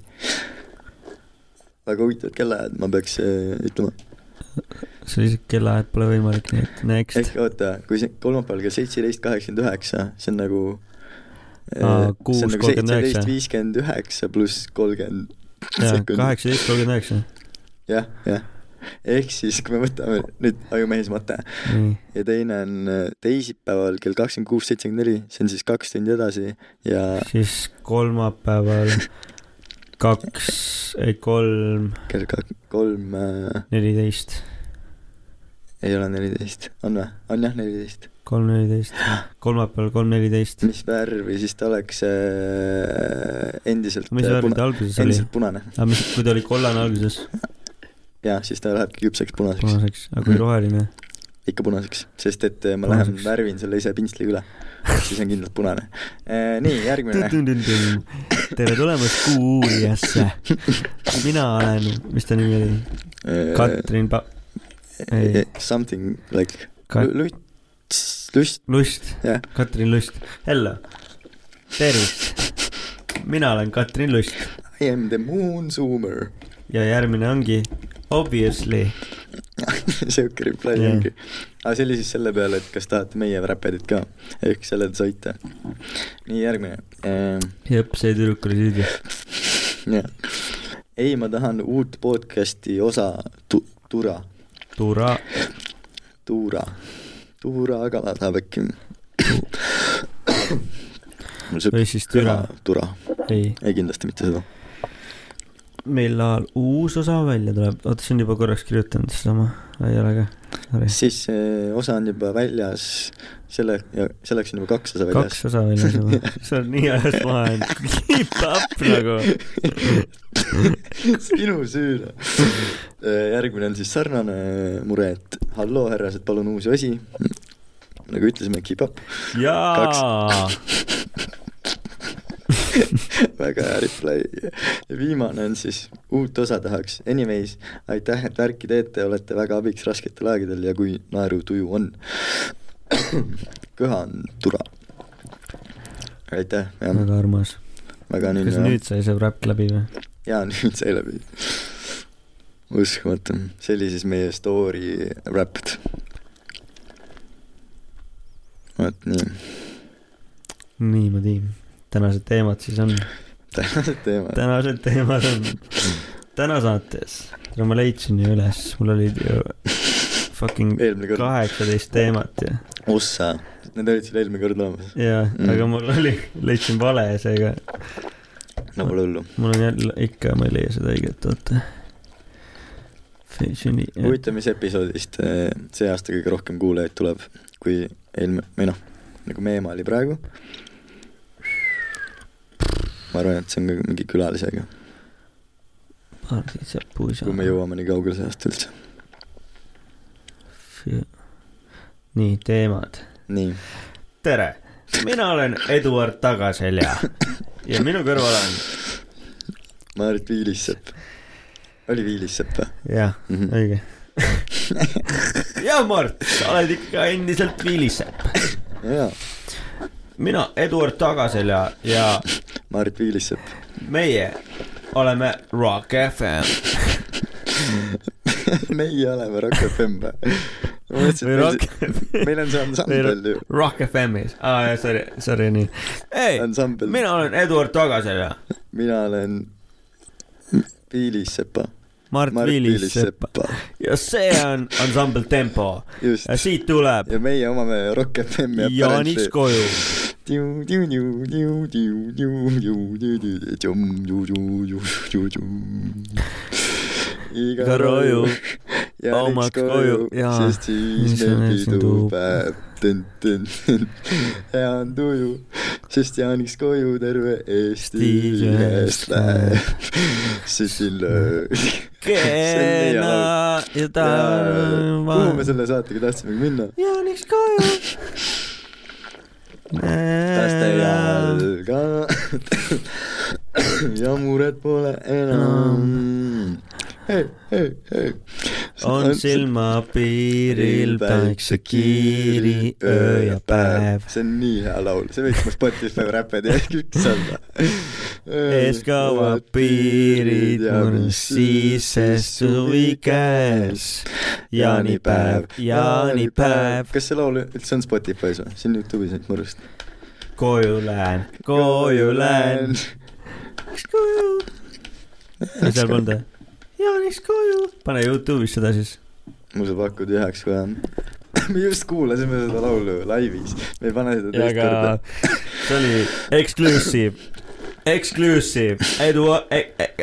Speaker 2: väga huvitavad kellaajad , ma peaks äh, ütlema .
Speaker 1: sellised kellaajad pole võimalik , nii et next
Speaker 2: ehk . oota , kui see kolmapäeval kell seitseteist kaheksakümmend üheksa , see on nagu äh,
Speaker 1: Aa, kuus kolmkümmend üheksa.
Speaker 2: seitseteist viiskümmend üheksa pluss kolmkümmend sekundit .
Speaker 1: kaheksateist kolmkümmend üheksa .
Speaker 2: jah , jah . ehk siis , kui me võtame nüüd Ajumehes mate
Speaker 1: nii ,
Speaker 2: ja teine on äh, teisipäeval kell kakskümmend kuus seitsekümmend neli , see on siis kaks tundi edasi ja
Speaker 1: siis kolmapäeval kaks , ei kolm ,
Speaker 2: kell kak- , kolm äh,
Speaker 1: neliteist ,
Speaker 2: ei ole neliteist , on või ? on jah , neliteist .
Speaker 1: kolm neliteist , kolmapäeval kolm neliteist .
Speaker 2: mis värvi siis ta oleks äh, endiselt
Speaker 1: mis
Speaker 2: äh,
Speaker 1: värv
Speaker 2: puna-
Speaker 1: ta alguses oli ?
Speaker 2: endiselt punane
Speaker 1: aga mis , kui ta oli kollane alguses ,
Speaker 2: ja siis ta lähebki küpseks punaseks ,
Speaker 1: punaseks , aga Ah, kui roheline ?
Speaker 2: ikka punaseks , sest et äh, ma lähen
Speaker 1: Punaseks.
Speaker 2: värvin selle ise pintsliga üle , siis on kindlalt punane äh, . nii , järgmine .
Speaker 1: tere tulemast Kuuliasse . mina olen , mis ta nimi oli ? Katrin Pa- , ei.
Speaker 2: Äh, Something like
Speaker 1: Kat-
Speaker 2: Lu- luts , lust ,
Speaker 1: Lust
Speaker 2: Jah. ,
Speaker 1: Katrin Lust . Hello , tervist . mina olen Katrin Lust
Speaker 2: I am the moon zoomer .
Speaker 1: ja järgmine ongi Obviously .
Speaker 2: sihuke reply
Speaker 1: Jah.
Speaker 2: ongi . aga see oli siis selle peale , et kas tahate meie räpedit ka , ehk selle te saite . nii , järgmine ehm, .
Speaker 1: jep , see tüdruk oli süüdi .
Speaker 2: jah . ei , ma tahan uut podcast'i osa tu, , Tura ,
Speaker 1: Tura ,
Speaker 2: Tuura , Tuura Kala tahab äkki .
Speaker 1: või siis Türa ,
Speaker 2: Tura ,
Speaker 1: ei .
Speaker 2: ei kindlasti mitte seda .
Speaker 1: millal uus osa välja tuleb , oota , see on juba korraks kirjutanud sedasama , ei ole ka .
Speaker 2: siis see osa on juba väljas , selle , selleks on juba kaks osa väljas .
Speaker 1: kaks osa välja juba , see on nii ajast maha jäänud , keep up nagu .
Speaker 2: sinu süü . järgmine on siis sarnane mure , et halloo härrased , palun uusi osi . nagu ütlesime , keep up ,
Speaker 1: jaa ,
Speaker 2: väga hea reply . ja viimane on siis uut osa tahaks , anyways , aitäh , et värki teete , olete väga abiks rasketel aegadel ja kui naerutuju on . köha on tura . aitäh , jah ,
Speaker 1: väga armas .
Speaker 2: väga
Speaker 1: kas
Speaker 2: nunnu .
Speaker 1: nüüd sai see räpp läbi või ?
Speaker 2: ja nüüd sai läbi . uskumatu , see oli siis meie story wrapped . vot nii ,
Speaker 1: niimoodi , tänased teemad siis on ,
Speaker 2: tänased teemad .
Speaker 1: tänased teemad on täna saates . no ma leidsin ju üles , mul olid ju fucking
Speaker 2: eelmine kord ,
Speaker 1: kaheksateist teemat ja ,
Speaker 2: ossa , need olid sul eelmine kord olemas ,
Speaker 1: ja
Speaker 2: Mm.
Speaker 1: mm. aga mul oli , leidsin vale ja seega
Speaker 2: no pole hullu .
Speaker 1: mul on jälle ikka , ma ei leia seda õiget , oota . Fashioni ,
Speaker 2: huvitav , mis episoodist eh, see aasta kõige rohkem kuulajaid tuleb , kui eelmine , või noh , nagu meie oma oli praegu . ma arvan , et see on ka mingi külalisega ,
Speaker 1: pardid ja
Speaker 2: kui me
Speaker 1: puusad .
Speaker 2: jõuame nii kaugele see aasta üldse .
Speaker 1: nii , teemad .
Speaker 2: nii ,
Speaker 1: tere , mina olen Eduard Tagaselja ja minu kõrval on ,
Speaker 2: Maarit Viilissepp . oli Viilissepp või ?
Speaker 1: jah ,
Speaker 2: Mhm.
Speaker 1: õige . ja Mart , sa oled ikka endiselt Viilisepp .
Speaker 2: jaa ,
Speaker 1: mina , Eduard Tagaselja ja
Speaker 2: Maarit Viilissepp .
Speaker 1: meie oleme Rock FM .
Speaker 2: meie oleme Rock FM või ? ma mõtlesin ,
Speaker 1: või
Speaker 2: et meil,
Speaker 1: Rock ,
Speaker 2: meil on see ansambel ju ,
Speaker 1: Rock FM-is , aa jaa , sorry , sorry , nii . ei ,
Speaker 2: ansambel .
Speaker 1: mina olen Eduard Tagasel ja
Speaker 2: mina olen Piilis Sepa .
Speaker 1: Mart Viilis Sepp ja see on ansambel Tempo
Speaker 2: just .
Speaker 1: ja siit tuleb
Speaker 2: ja meie omame Rock FM ja
Speaker 1: Jaaniks koju .
Speaker 2: iga
Speaker 1: Iga roju
Speaker 2: Jaaniks
Speaker 1: omaks
Speaker 2: koju
Speaker 1: koju. , Jaa.
Speaker 2: sest siis
Speaker 1: Mis on
Speaker 2: meil
Speaker 1: ees on tuub.
Speaker 2: pidupäev . hea on tuju , sest Jaaniks koju terve Eesti
Speaker 1: Eesti
Speaker 2: ühes
Speaker 1: ühes
Speaker 2: läheb . sütil lööb .
Speaker 1: kena ja tarva .
Speaker 2: kuhu me selle saatega tahtsimegi minna ?
Speaker 1: Jaaniks koju .
Speaker 2: laste jalga ja muret pole enam . hei , hei , hei .
Speaker 1: on silmapiiril päiksekiiri , öö ja päev .
Speaker 2: see on nii hea laul , see võiks nagu mu Spotify räppe teha üks olla .
Speaker 1: ees kaovad piirid , mul siis see suvi käes . jaanipäev , jaanipäev ,
Speaker 2: kas see laul üldse on Spotify's või ? see on Youtube'is nüüd mu arust .
Speaker 1: koju lähen , koju lähen . Jaaniks koju . ei , seal polnud või ? Jaaniks koju . pane Youtube'is seda siis .
Speaker 2: mu sa pakud üheks kohe . me just kuulasime seda laulu laivis , me ei pane seda
Speaker 1: ja
Speaker 2: teist
Speaker 1: ka
Speaker 2: korda .,
Speaker 1: see oli exclusive , exclusive , edu ,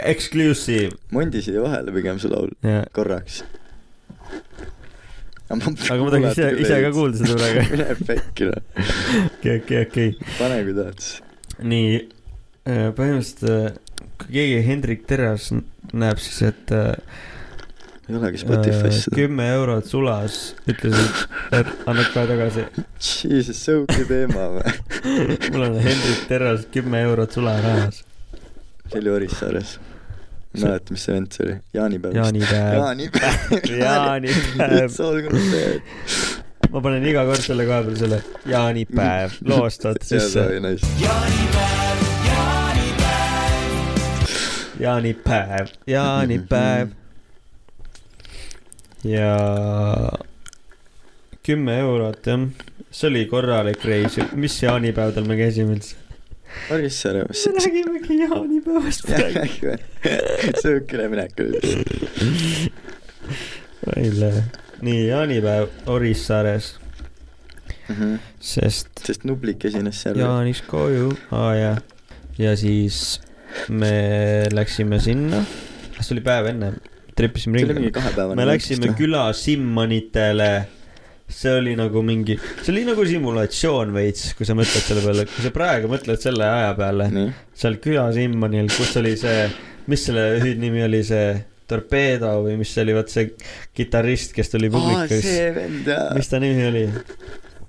Speaker 1: exclusive .
Speaker 2: Mondi siia vahele pigem see laul
Speaker 1: jaa ,
Speaker 2: korraks . aga
Speaker 1: aga ma tahaks ise , ise ka . kuulda seda praegu .
Speaker 2: mine pekki noh ,
Speaker 1: okei , okei , okei .
Speaker 2: pane kui tahad siis .
Speaker 1: nii , põhimõtteliselt äh, kui keegi Hendrik Terras n- näeb , siis et äh,
Speaker 2: ei olegi Spotify's
Speaker 1: äh,
Speaker 2: seda .
Speaker 1: kümme eurot sulas , ütlesid , et annad kohe tagasi .
Speaker 2: Jesus , sõuki teema või ?
Speaker 1: mul on Hendrik Terras kümme eurot sularahas .
Speaker 2: see oli Orissaares . mäletad , mis see vend see oli ? jaanipäev vist .
Speaker 1: jaanipäev ,
Speaker 2: jaanipäev .
Speaker 1: jaanipäev .
Speaker 2: üldse olgu nüüd see .
Speaker 1: ma panen iga kord selle koha peal selle jaanipäev , loost vaata sisse
Speaker 2: see . oli nice .
Speaker 1: jaanipäev , jaanipäev ja kümme eurot jah , see oli korralik reis , mis jaanipäevadel me käisime üldse ?
Speaker 2: Orissaare ,
Speaker 1: me räägimegi jaanipäevast praegu .
Speaker 2: sõukile minek oli .
Speaker 1: nii , jaanipäev Orissaares , sest
Speaker 2: Mhm. sest Nublik esines seal .
Speaker 1: Jaanis koju , aa jaa . ja siis me läksime sinna , see oli päev enne , tripisime
Speaker 2: see oli
Speaker 1: ringi
Speaker 2: mingi . kahepäevane .
Speaker 1: me läksime . küla Simmanitele , see oli nagu mingi , see oli nagu simulatsioon veits , kui sa mõtled selle peale , kui sa praegu mõtled selle aja peale ,
Speaker 2: nii ,
Speaker 1: seal küla Simmanil , kus oli see , mis selle hüüdnimi oli , see Torpedo või mis see oli , vot see kitarrist , kes tuli
Speaker 2: aa
Speaker 1: publikus ,
Speaker 2: see vend jaa
Speaker 1: mis , ta nimi oli ?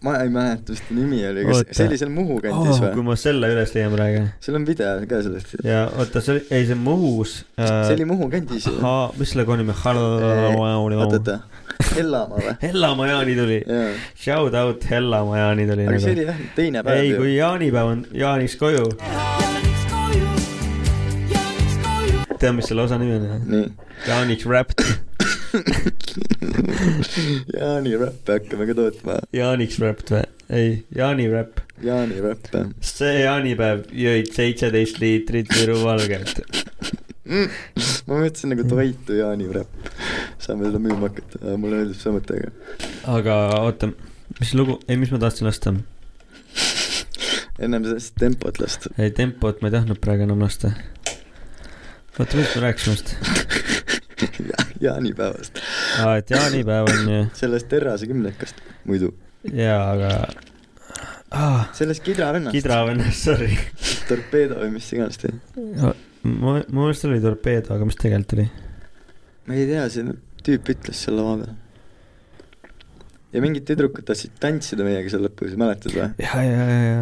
Speaker 2: ma ei mäleta , mis ta nimi oli , kas
Speaker 1: Oota.
Speaker 2: see oli seal Muhu
Speaker 1: Oh,
Speaker 2: kandis või
Speaker 1: kui ? ma selle üles leian praegu
Speaker 2: seal on video ka sellest .
Speaker 1: ja oota , see oli , ei see Muhus
Speaker 2: see
Speaker 1: äh, .
Speaker 2: oli Muhu kandis ju .
Speaker 1: Ha- , mis selle koha nimi
Speaker 2: oot ,
Speaker 1: on ?
Speaker 2: oota , Ellamaa või ?
Speaker 1: Hellamaa Jaani tuli ,
Speaker 2: jaa ,
Speaker 1: shout out Hellamaa Jaani tuli
Speaker 2: aga see
Speaker 1: nagu .
Speaker 2: oli jah teine päev
Speaker 1: ei ,
Speaker 2: ju .
Speaker 1: kui jaanipäev on Jaaniks koju , tead , mis selle osa nimi on ?
Speaker 2: nii ,
Speaker 1: Jaaniks Wrapped ,
Speaker 2: Jaani räppe hakkame ka tootma ,
Speaker 1: Jaaniks Wrapped või ? ei , Jaani Wrap ,
Speaker 2: Jaani räppe .
Speaker 1: see jaanipäev jõid seitseteist liitrit Viru valget .
Speaker 2: Mm. ma mõtlesin nagu toitu Jaani räpp . saame seda müüma hakata , mulle meeldib see mõte ka .
Speaker 1: aga oota , mis lugu , ei , mis ma tahtsin lasta ?
Speaker 2: ennem sellest tempot lasta .
Speaker 1: ei , tempot ma ei tahtnud praegu enam lasta . oota , millest me rääkisime just ?
Speaker 2: jaanipäevast ,
Speaker 1: aa , et jaanipäev on ju ,
Speaker 2: sellest terrase kümnekast muidu ,
Speaker 1: jaa , aga ah, .
Speaker 2: sellest Kidra vennast Kid... ,
Speaker 1: kidravennast , sorry .
Speaker 2: torpeedo või mis iganes ta oli .
Speaker 1: ma , mu meelest oli torpeedo , aga mis tegelikult oli ?
Speaker 2: ma ei tea , see tüüp ütles seal lava peal . ja mingid tüdrukud tahtsid tantsida meiega seal lõpus , mäletad või ?
Speaker 1: ja , ja , ja , ja .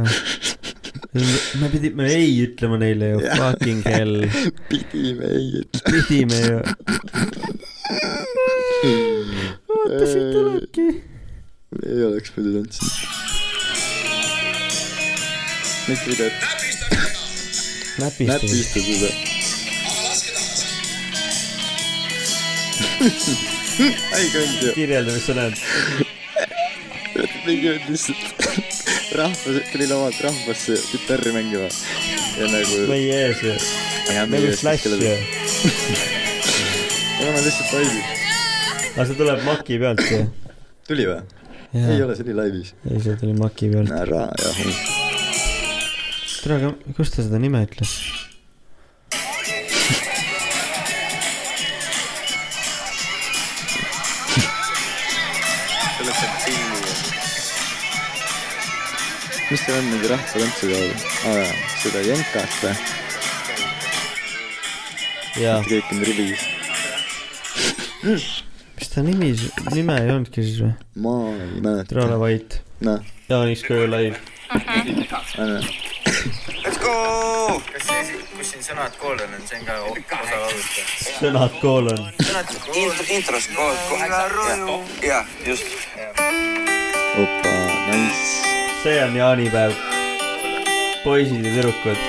Speaker 1: me pidime ei ütlema neile ju ,
Speaker 2: Jah.
Speaker 1: fucking hell .
Speaker 2: pidime ei ütle .
Speaker 1: pidime ju . vaata , siit tulebki .
Speaker 2: ei oleks muidu tantsinud . miks videot
Speaker 1: näpistus .
Speaker 2: näpistasid või ? ei kõndi ju .
Speaker 1: kirjelda , mis sa näed .
Speaker 2: mingi lihtsalt rahvas , tulin omalt rahvasse kitarri mängima ja nagu .
Speaker 1: meie ees ju , nagu Slash ju .
Speaker 2: ma olen lihtsalt laivis .
Speaker 1: aga see tuleb maki pealt ju .
Speaker 2: tuli või ? ei ole , see oli laivis .
Speaker 1: ei , see tuli maki pealt .
Speaker 2: ära jahu .
Speaker 1: tere , aga kust ta seda nime ütles ?
Speaker 3: selleks , et filmi .
Speaker 2: mis see on mingi rahvatantsu jaoks ah, ? aa , seda jänkat või ?
Speaker 1: jaa .
Speaker 2: kõik on rivis .
Speaker 1: mis ta nimi , nime ei olnudki siis või ?
Speaker 2: ma ei mäleta .
Speaker 1: tere , ole vait .
Speaker 2: noh ,
Speaker 1: Jaanis Köö live .
Speaker 2: anna .
Speaker 3: Let's go .
Speaker 4: kas see , kus siin sõnad koolon on , see on ka o- osa laulust või ?
Speaker 1: sõnad kool on .
Speaker 4: sõnad
Speaker 3: intro , introst koos kohe . jah , just .
Speaker 2: opa , nice .
Speaker 1: see on jaanipäev . poisid ja tüdrukud .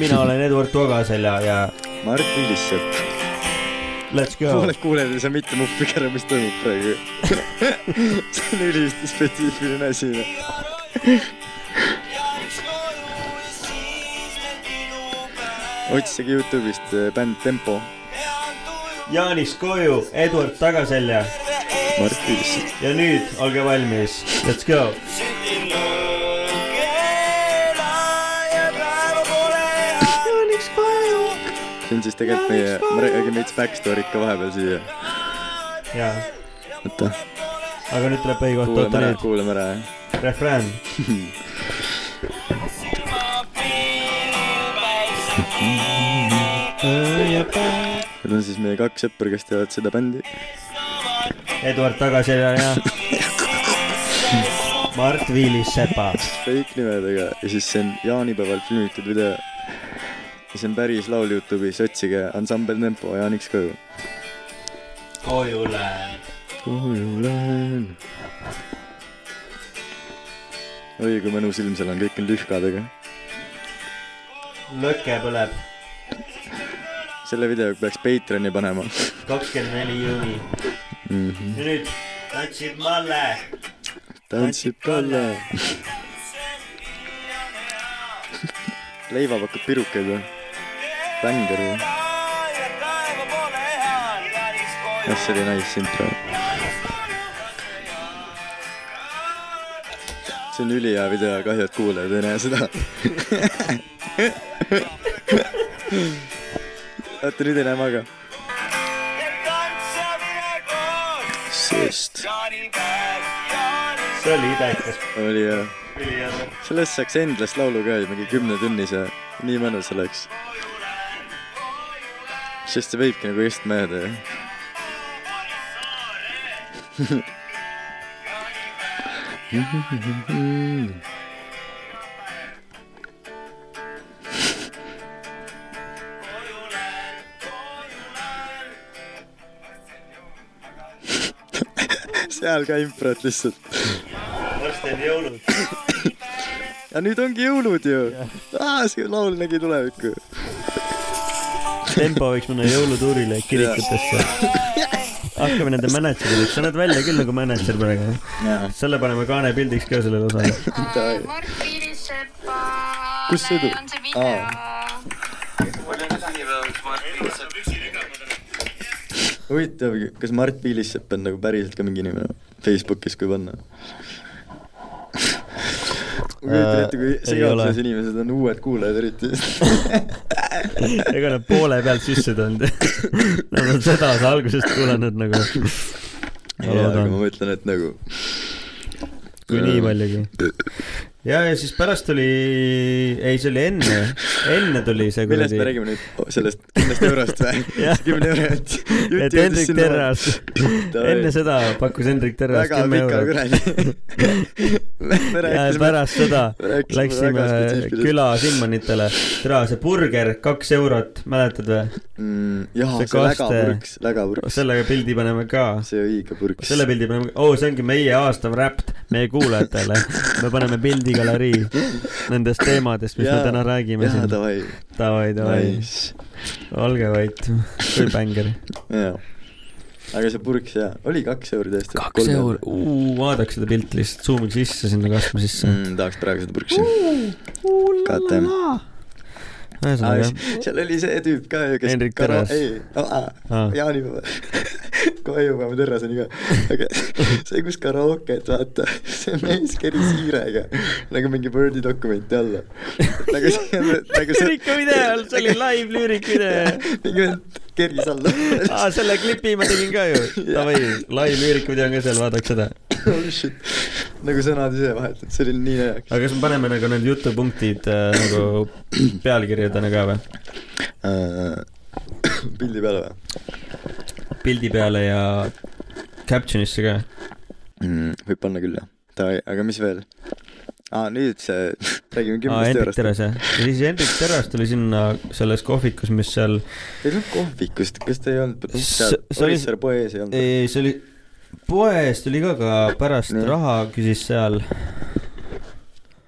Speaker 1: mina olen Eduard Togaselja ja
Speaker 2: Mart Villissepp .
Speaker 1: let's go .
Speaker 2: pooled kuulajad ei saa mitte muppigi aru , mis toimub praegu . see on ülihästi spetsiifiline asi . noh. otsige Youtube'ist eh, bänd Tempo ,
Speaker 1: Jaanis koju , Eduard Tagaselja
Speaker 2: Mart Villissepp .
Speaker 1: ja nüüd olge valmis , let's go . Jaanis koju .
Speaker 2: see on siis tegelikult meie , me räägime veits backstory'd ka vahepeal siia .
Speaker 1: jaa ,
Speaker 2: oota ,
Speaker 1: aga nüüd tuleb õige koht ,
Speaker 2: kuulame
Speaker 1: oota
Speaker 2: ära ,
Speaker 1: nüüd ,
Speaker 2: kuulame ära .
Speaker 1: refrään .
Speaker 2: Need on siis meie kaks sõpra , kes teevad seda bändi .
Speaker 1: Eduard Tagaselja ja Mart Viilis-Sepa .
Speaker 2: fake nimedega ja siis see on jaanipäeval filmitud video . ja see on päris laul Youtube'is , otsige ansambel Tempo Jaaniks koju .
Speaker 1: koju lähen .
Speaker 2: koju lähen . oi kui mõnus ilm seal on , kõik on lühkadega .
Speaker 1: lõke põleb ,
Speaker 2: selle video peaks Patreon'i panema .
Speaker 1: kakskümmend neli juuni . ja nüüd tantsib Malle .
Speaker 2: tantsib Kalle . leiva pakub pirukaid või ? bängar või ? jah , see oli nice intro . see on ülihea video , kahju , et kuulajad ei näe seda . oota , nüüd ei näe ma ka . sest
Speaker 1: see oli idekas .
Speaker 2: oli hea . sellest saaks endlast laulu ka ju mingi kümne tunnis ja nii mõnus oleks . sest see võibki nagu kestma jääda ju . seal ka improt lihtsalt .
Speaker 1: varsti on jõulud .
Speaker 2: ja nüüd ongi jõulud ju . aa , see laul nägi tulevikku .
Speaker 1: tempo võiks minna jõulutuurile kirikutesse . hakkame nende mänedžerideks , sa näed välja küll nagu mänedžer praegu . selle paneme kaanepildiks ka sellele osale .
Speaker 2: Kus see tuli?
Speaker 5: Aa.
Speaker 3: mul on sünnipäev , kus ma olen .
Speaker 2: huvitav , kas Mart Piilissepp on nagu päriselt ka mingi inimene Facebookis , kui panna ? ma kujutan
Speaker 1: Äh,
Speaker 2: ette , kui
Speaker 1: ei ole.
Speaker 2: segaduses inimesed on uued kuulajad eriti .
Speaker 1: ega nad poole pealt sisse tulnud . Nad on seda osa algusest kuulanud nagu . ma
Speaker 2: jaa , aga
Speaker 1: loodan
Speaker 2: ma , mõtlen , et nagu .
Speaker 1: kui nii . paljugi . ja , ja siis pärast tuli , ei , see oli enne , enne tuli see
Speaker 2: millest me
Speaker 1: kuradi .
Speaker 2: räägime nüüd , sellest kümnest eurost või
Speaker 1: Jah. ?
Speaker 2: kümne eurot .
Speaker 1: et Hendrik Terras , enne seda pakkus Hendrik Terras
Speaker 2: väga
Speaker 1: kümme
Speaker 2: pika
Speaker 1: eurot .
Speaker 2: kõne .
Speaker 1: ja pärast seda läksime küla Simmonitele , tere , see burger kaks eurot , mäletad või ?
Speaker 2: mm, . jaa ,
Speaker 1: See
Speaker 2: see, see
Speaker 1: kaste-
Speaker 2: lägapurks , lägapurks ,
Speaker 1: selle pildi paneme ka
Speaker 2: see õige purks .
Speaker 1: selle pildi paneme , oo , see ongi meie aasta räpp meie kuulajatele . me paneme pildigalerii nendest teemadest , mis me täna räägime
Speaker 2: siin . jaa ,
Speaker 1: siin .
Speaker 2: davai ,
Speaker 1: davai , davai ,
Speaker 2: nice .
Speaker 1: olge vait , kui bängar
Speaker 2: jaa , aga see purk seal oli kaks euri tõesti .
Speaker 1: kaks euri , vaadaks seda pilti lihtsalt , suumiks sisse sinna kasva sisse .
Speaker 2: mm, . tahaks praegu seda purksi uh, . KTM . Ah,
Speaker 1: ühesõnaga ,
Speaker 2: seal oli see tüüp ka ju , kes
Speaker 1: Henrik Terras.
Speaker 2: ei ,
Speaker 1: Aa.
Speaker 2: jaanipäev , kohe jõuame Terraseni ka , aga see , kus karaoke't vaata , see mees keris hiirega nagu mingi Wordi dokumenti alla . nagu see , nagu see .
Speaker 1: Lüürika video all, see oli live lüürik video.
Speaker 2: mingi vend keris alla .
Speaker 1: aa , selle klipi ma tegin ka ju , davai , live lüüriku video on ka seal , vaadake seda .
Speaker 2: oh shit , nagu sõnad ise vahetad , see oli nii naljakas
Speaker 1: aga kas me paneme nagu need jutupunktid äh, nagu pealkirjadena ka või ?
Speaker 2: uh, . pildi peale või
Speaker 1: pildi peale ja caption'isse ka .
Speaker 2: mm, ? võib panna küll jah , davai , aga mis veel ? aa , nüüd see , räägime
Speaker 1: aa ,
Speaker 2: kümnest
Speaker 1: Hendrik
Speaker 2: eurost .
Speaker 1: Terras jah . ja siis Hendrik Terras tuli sinna selles kohvikus , mis seal ,
Speaker 2: ei olnud kohvikust , kas te ei olnud ,
Speaker 1: See-
Speaker 2: seal
Speaker 1: see oli-
Speaker 2: Orissaare poe ees ei olnud ?
Speaker 1: ei , see oli , poes tuli ka , aga pärast
Speaker 2: Nii.
Speaker 1: raha küsis seal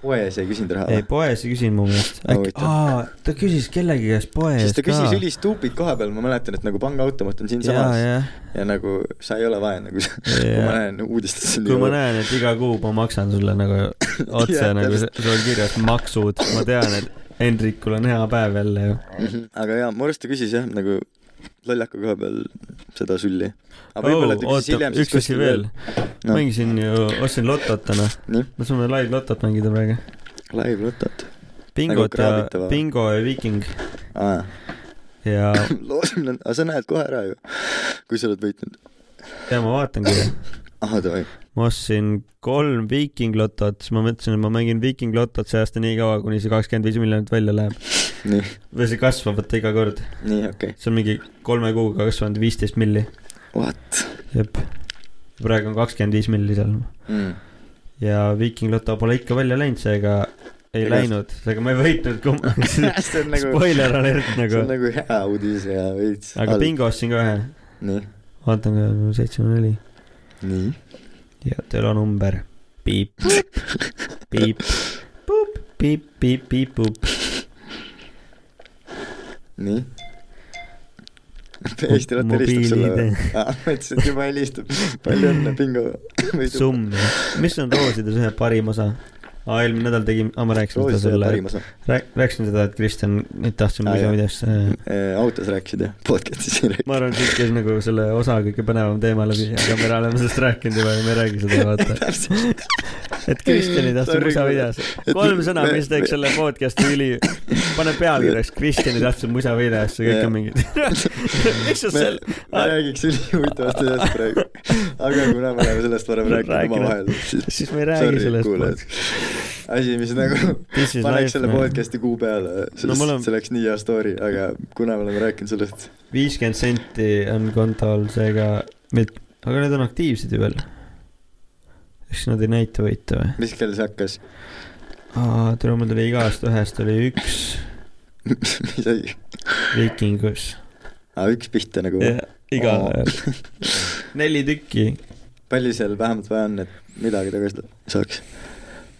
Speaker 2: poe ees ei küsinud raha
Speaker 1: ei ,
Speaker 2: või ?
Speaker 1: poes ei küsinud mu meelest .
Speaker 2: No
Speaker 1: äkki ,
Speaker 2: Ah. huvitav.
Speaker 1: aa , ta küsis kellegi käest poes ka .
Speaker 2: sest ta küsis ülistuupid koha peal , ma mäletan , et nagu pangaautomaat on
Speaker 1: jaa ,
Speaker 2: siinsamas ja,
Speaker 1: jah .
Speaker 2: ja. ja nagu sa ei ole vaja nagu , kui
Speaker 1: Jaa.
Speaker 2: ma näen uudistes .
Speaker 1: kui ma . näen , et iga kuu ma maksan sulle nagu otse
Speaker 2: Jah,
Speaker 1: nagu
Speaker 2: täpselt.
Speaker 1: sul on kirjas maksud , ma tean , et Hendrikul on hea päev jälle ju .
Speaker 2: Mhm. aga jaa , mu arust ta küsis jah , nagu lollaku koha peal seda sülli . aga võib-olla ta küsis hiljem siis
Speaker 1: Oh, üks asi
Speaker 2: kuskil
Speaker 1: veel .
Speaker 2: No.
Speaker 1: mängisin ju , ostsin lotot täna .
Speaker 2: Nii.
Speaker 1: me saame live lotot mängida praegu .
Speaker 2: live lotot .
Speaker 1: bingot
Speaker 2: kraabite
Speaker 1: ja ,
Speaker 2: või?
Speaker 1: bingo ja viiking
Speaker 2: aa ,
Speaker 1: ja ,
Speaker 2: loosimine on , aga sa näed kohe ära ju , kui sa oled võitnud .
Speaker 1: ja ma vaatangi .
Speaker 2: ahah , davai .
Speaker 1: ma ostsin kolm viiking lotot , siis ma mõtlesin , et ma mängin viiking lotot see aasta nii kaua , kuni see kakskümmend viis miljonit välja läheb .
Speaker 2: nii ,
Speaker 1: või see kasvab vaata iga kord ,
Speaker 2: nii okei okay. ,
Speaker 1: see on mingi kolme kuuga kasvanud viisteist milli .
Speaker 2: what
Speaker 1: jep . praegu on kakskümmend viis milli seal
Speaker 2: mm. ?
Speaker 1: ja Viking Loto pole ikka välja läinud , seega ei
Speaker 2: Ega-
Speaker 1: läinud , seega ma ei võitnud kumb- .
Speaker 2: see on nagu ,
Speaker 1: spoiler alert
Speaker 2: see
Speaker 1: nagu
Speaker 2: on , nagu hea uudis ja veits
Speaker 1: aga . bingo ostsin ka ühe ,
Speaker 2: nii ,
Speaker 1: vaatan ka seitsekümmend neli
Speaker 2: nii .
Speaker 1: ja telonumber piip , piip , puup , piip , piip , piip , puup .
Speaker 2: nii . Eesti Lotte helistab sulle või ? aa , ma ütlesin , et juba helistab . palju õnne , bingo .
Speaker 1: summ , mis on roosides ühe parim osa ? aa , eelmine nädal tegin , aa ma rääkisin seda
Speaker 2: Roosist oli
Speaker 1: sulle ,
Speaker 2: parim osa .
Speaker 1: rääk- , rääkisin seda , et Kristjan , et tahtsin
Speaker 2: Aa,
Speaker 1: küsida
Speaker 2: jah.
Speaker 1: videosse .
Speaker 2: Äh, autos rääkisid jah , podcast'is ei rääkinud .
Speaker 1: ma arvan , et siit käis nagu selle osa kõige põnevam teema läbi , aga me oleme sellest rääkinud juba ja me ei räägi seda , vaata .
Speaker 2: täpselt .
Speaker 1: et Kristjan ei tahtnud
Speaker 2: Mm. Sorry,
Speaker 1: musavideos .
Speaker 2: et-
Speaker 1: kolm sõna , mis
Speaker 2: me-
Speaker 1: teeks selle podcast'i üli , pane pealkirjaks , Kristjan ei tahtnud musavideosse , kõik
Speaker 2: Jah.
Speaker 1: on mingid . miks sa
Speaker 2: me
Speaker 1: seal ,
Speaker 2: me räägiks ülihuvitavast asjast praegu . aga kuna me oleme sellest varem rääkinud
Speaker 1: Rääkinud.
Speaker 2: omavahel , siis
Speaker 1: siis me ei räägi sellest ..
Speaker 2: asi , mis nagu
Speaker 1: This is
Speaker 2: paneks
Speaker 1: life
Speaker 2: selle ,
Speaker 1: noh .
Speaker 2: podcast'i kuu peale ,
Speaker 1: No
Speaker 2: sest
Speaker 1: mul on-
Speaker 2: see oleks nii hea story , aga kuna me oleme rääkinud sellest ,
Speaker 1: viiskümmend senti on kontol , seega , aga need on aktiivsed ju veel . eks nad ei näita võitu või ?
Speaker 2: mis kell see hakkas ,
Speaker 1: aa , tule mul tuli igast ühest oli üks
Speaker 2: mis asi ,
Speaker 1: viikingus .
Speaker 2: üks pihta nagu
Speaker 1: jah , iga
Speaker 2: Oo.
Speaker 1: oh. , neli tükki ,
Speaker 2: palju seal vähemalt vaja on , et midagi tagasi saaks ?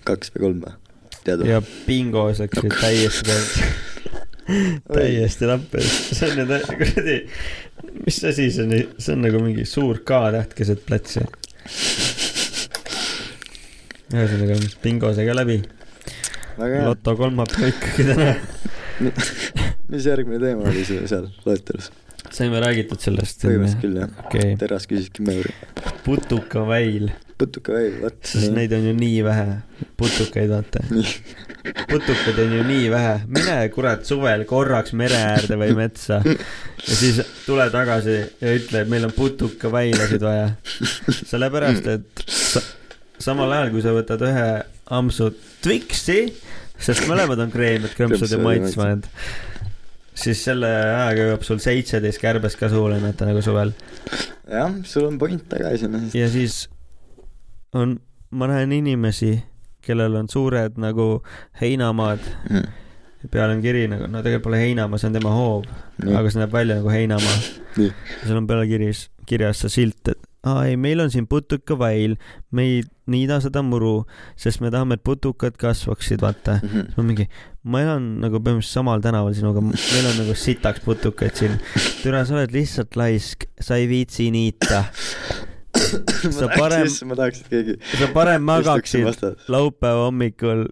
Speaker 2: kaks või kolm või ? tead või ?
Speaker 1: ja bingos läksid täiesti täis , täiesti lappes , see on nüüd kuradi , mis asi see on , see on nagu mingi suur K-täht keset platsi . ühesõnaga , bingo sai ka läbi ,
Speaker 2: väga hea ,
Speaker 1: loto kolmapäev ikkagi täna .
Speaker 2: mis järgmine teema oli sul seal loetelus ?
Speaker 1: saime räägitud sellest ,
Speaker 2: põhimõtteliselt küll jah ,
Speaker 1: okei ,
Speaker 2: Terras küsis kümme euri .
Speaker 1: putukaväil ,
Speaker 2: putuka või , vot
Speaker 1: sest . neid on ju nii vähe , putukaid vaata .
Speaker 2: nii ,
Speaker 1: putukaid on ju nii vähe , mine kurat suvel korraks mere äärde või metsa ja siis tule tagasi ja ütle , et meil on putukaväilasid vaja . sellepärast , et sa, samal ajal , kui sa võtad ühe ampsu Twixi , sest mõlemad on kreemid , krõmpsud ja
Speaker 2: Krõmpsud ja
Speaker 1: maitsvad , siis selle ajaga jõuab sul seitseteist kärbes ka suule , vaata nagu suvel .
Speaker 2: jah , sul on point taga iseenesest .
Speaker 1: ja siis on , ma näen inimesi , kellel on suured nagu heinamaad ja peal on kiri nagu , no tegelikult pole heinamaa , see on tema hoov ,
Speaker 2: nii ,
Speaker 1: aga see näeb välja nagu heinamaa .
Speaker 2: Nii.
Speaker 1: ja seal on peal kirjas , kirjas see silt , et aa ei , meil on siin putukaväil , me ei niida seda muru , sest me tahame , et putukad kasvaksid , vaata .
Speaker 2: Mhm.
Speaker 1: siis ma mingi , ma elan nagu põhimõtteliselt samal tänaval sinuga , meil on nagu sitaks putukaid siin . türa , sa oled lihtsalt laisk , sa ei viitsi niita . sa parem ,
Speaker 2: ma tahaks , et keegi .
Speaker 1: sa parem magaksid
Speaker 2: vastas .
Speaker 1: laupäeva hommikul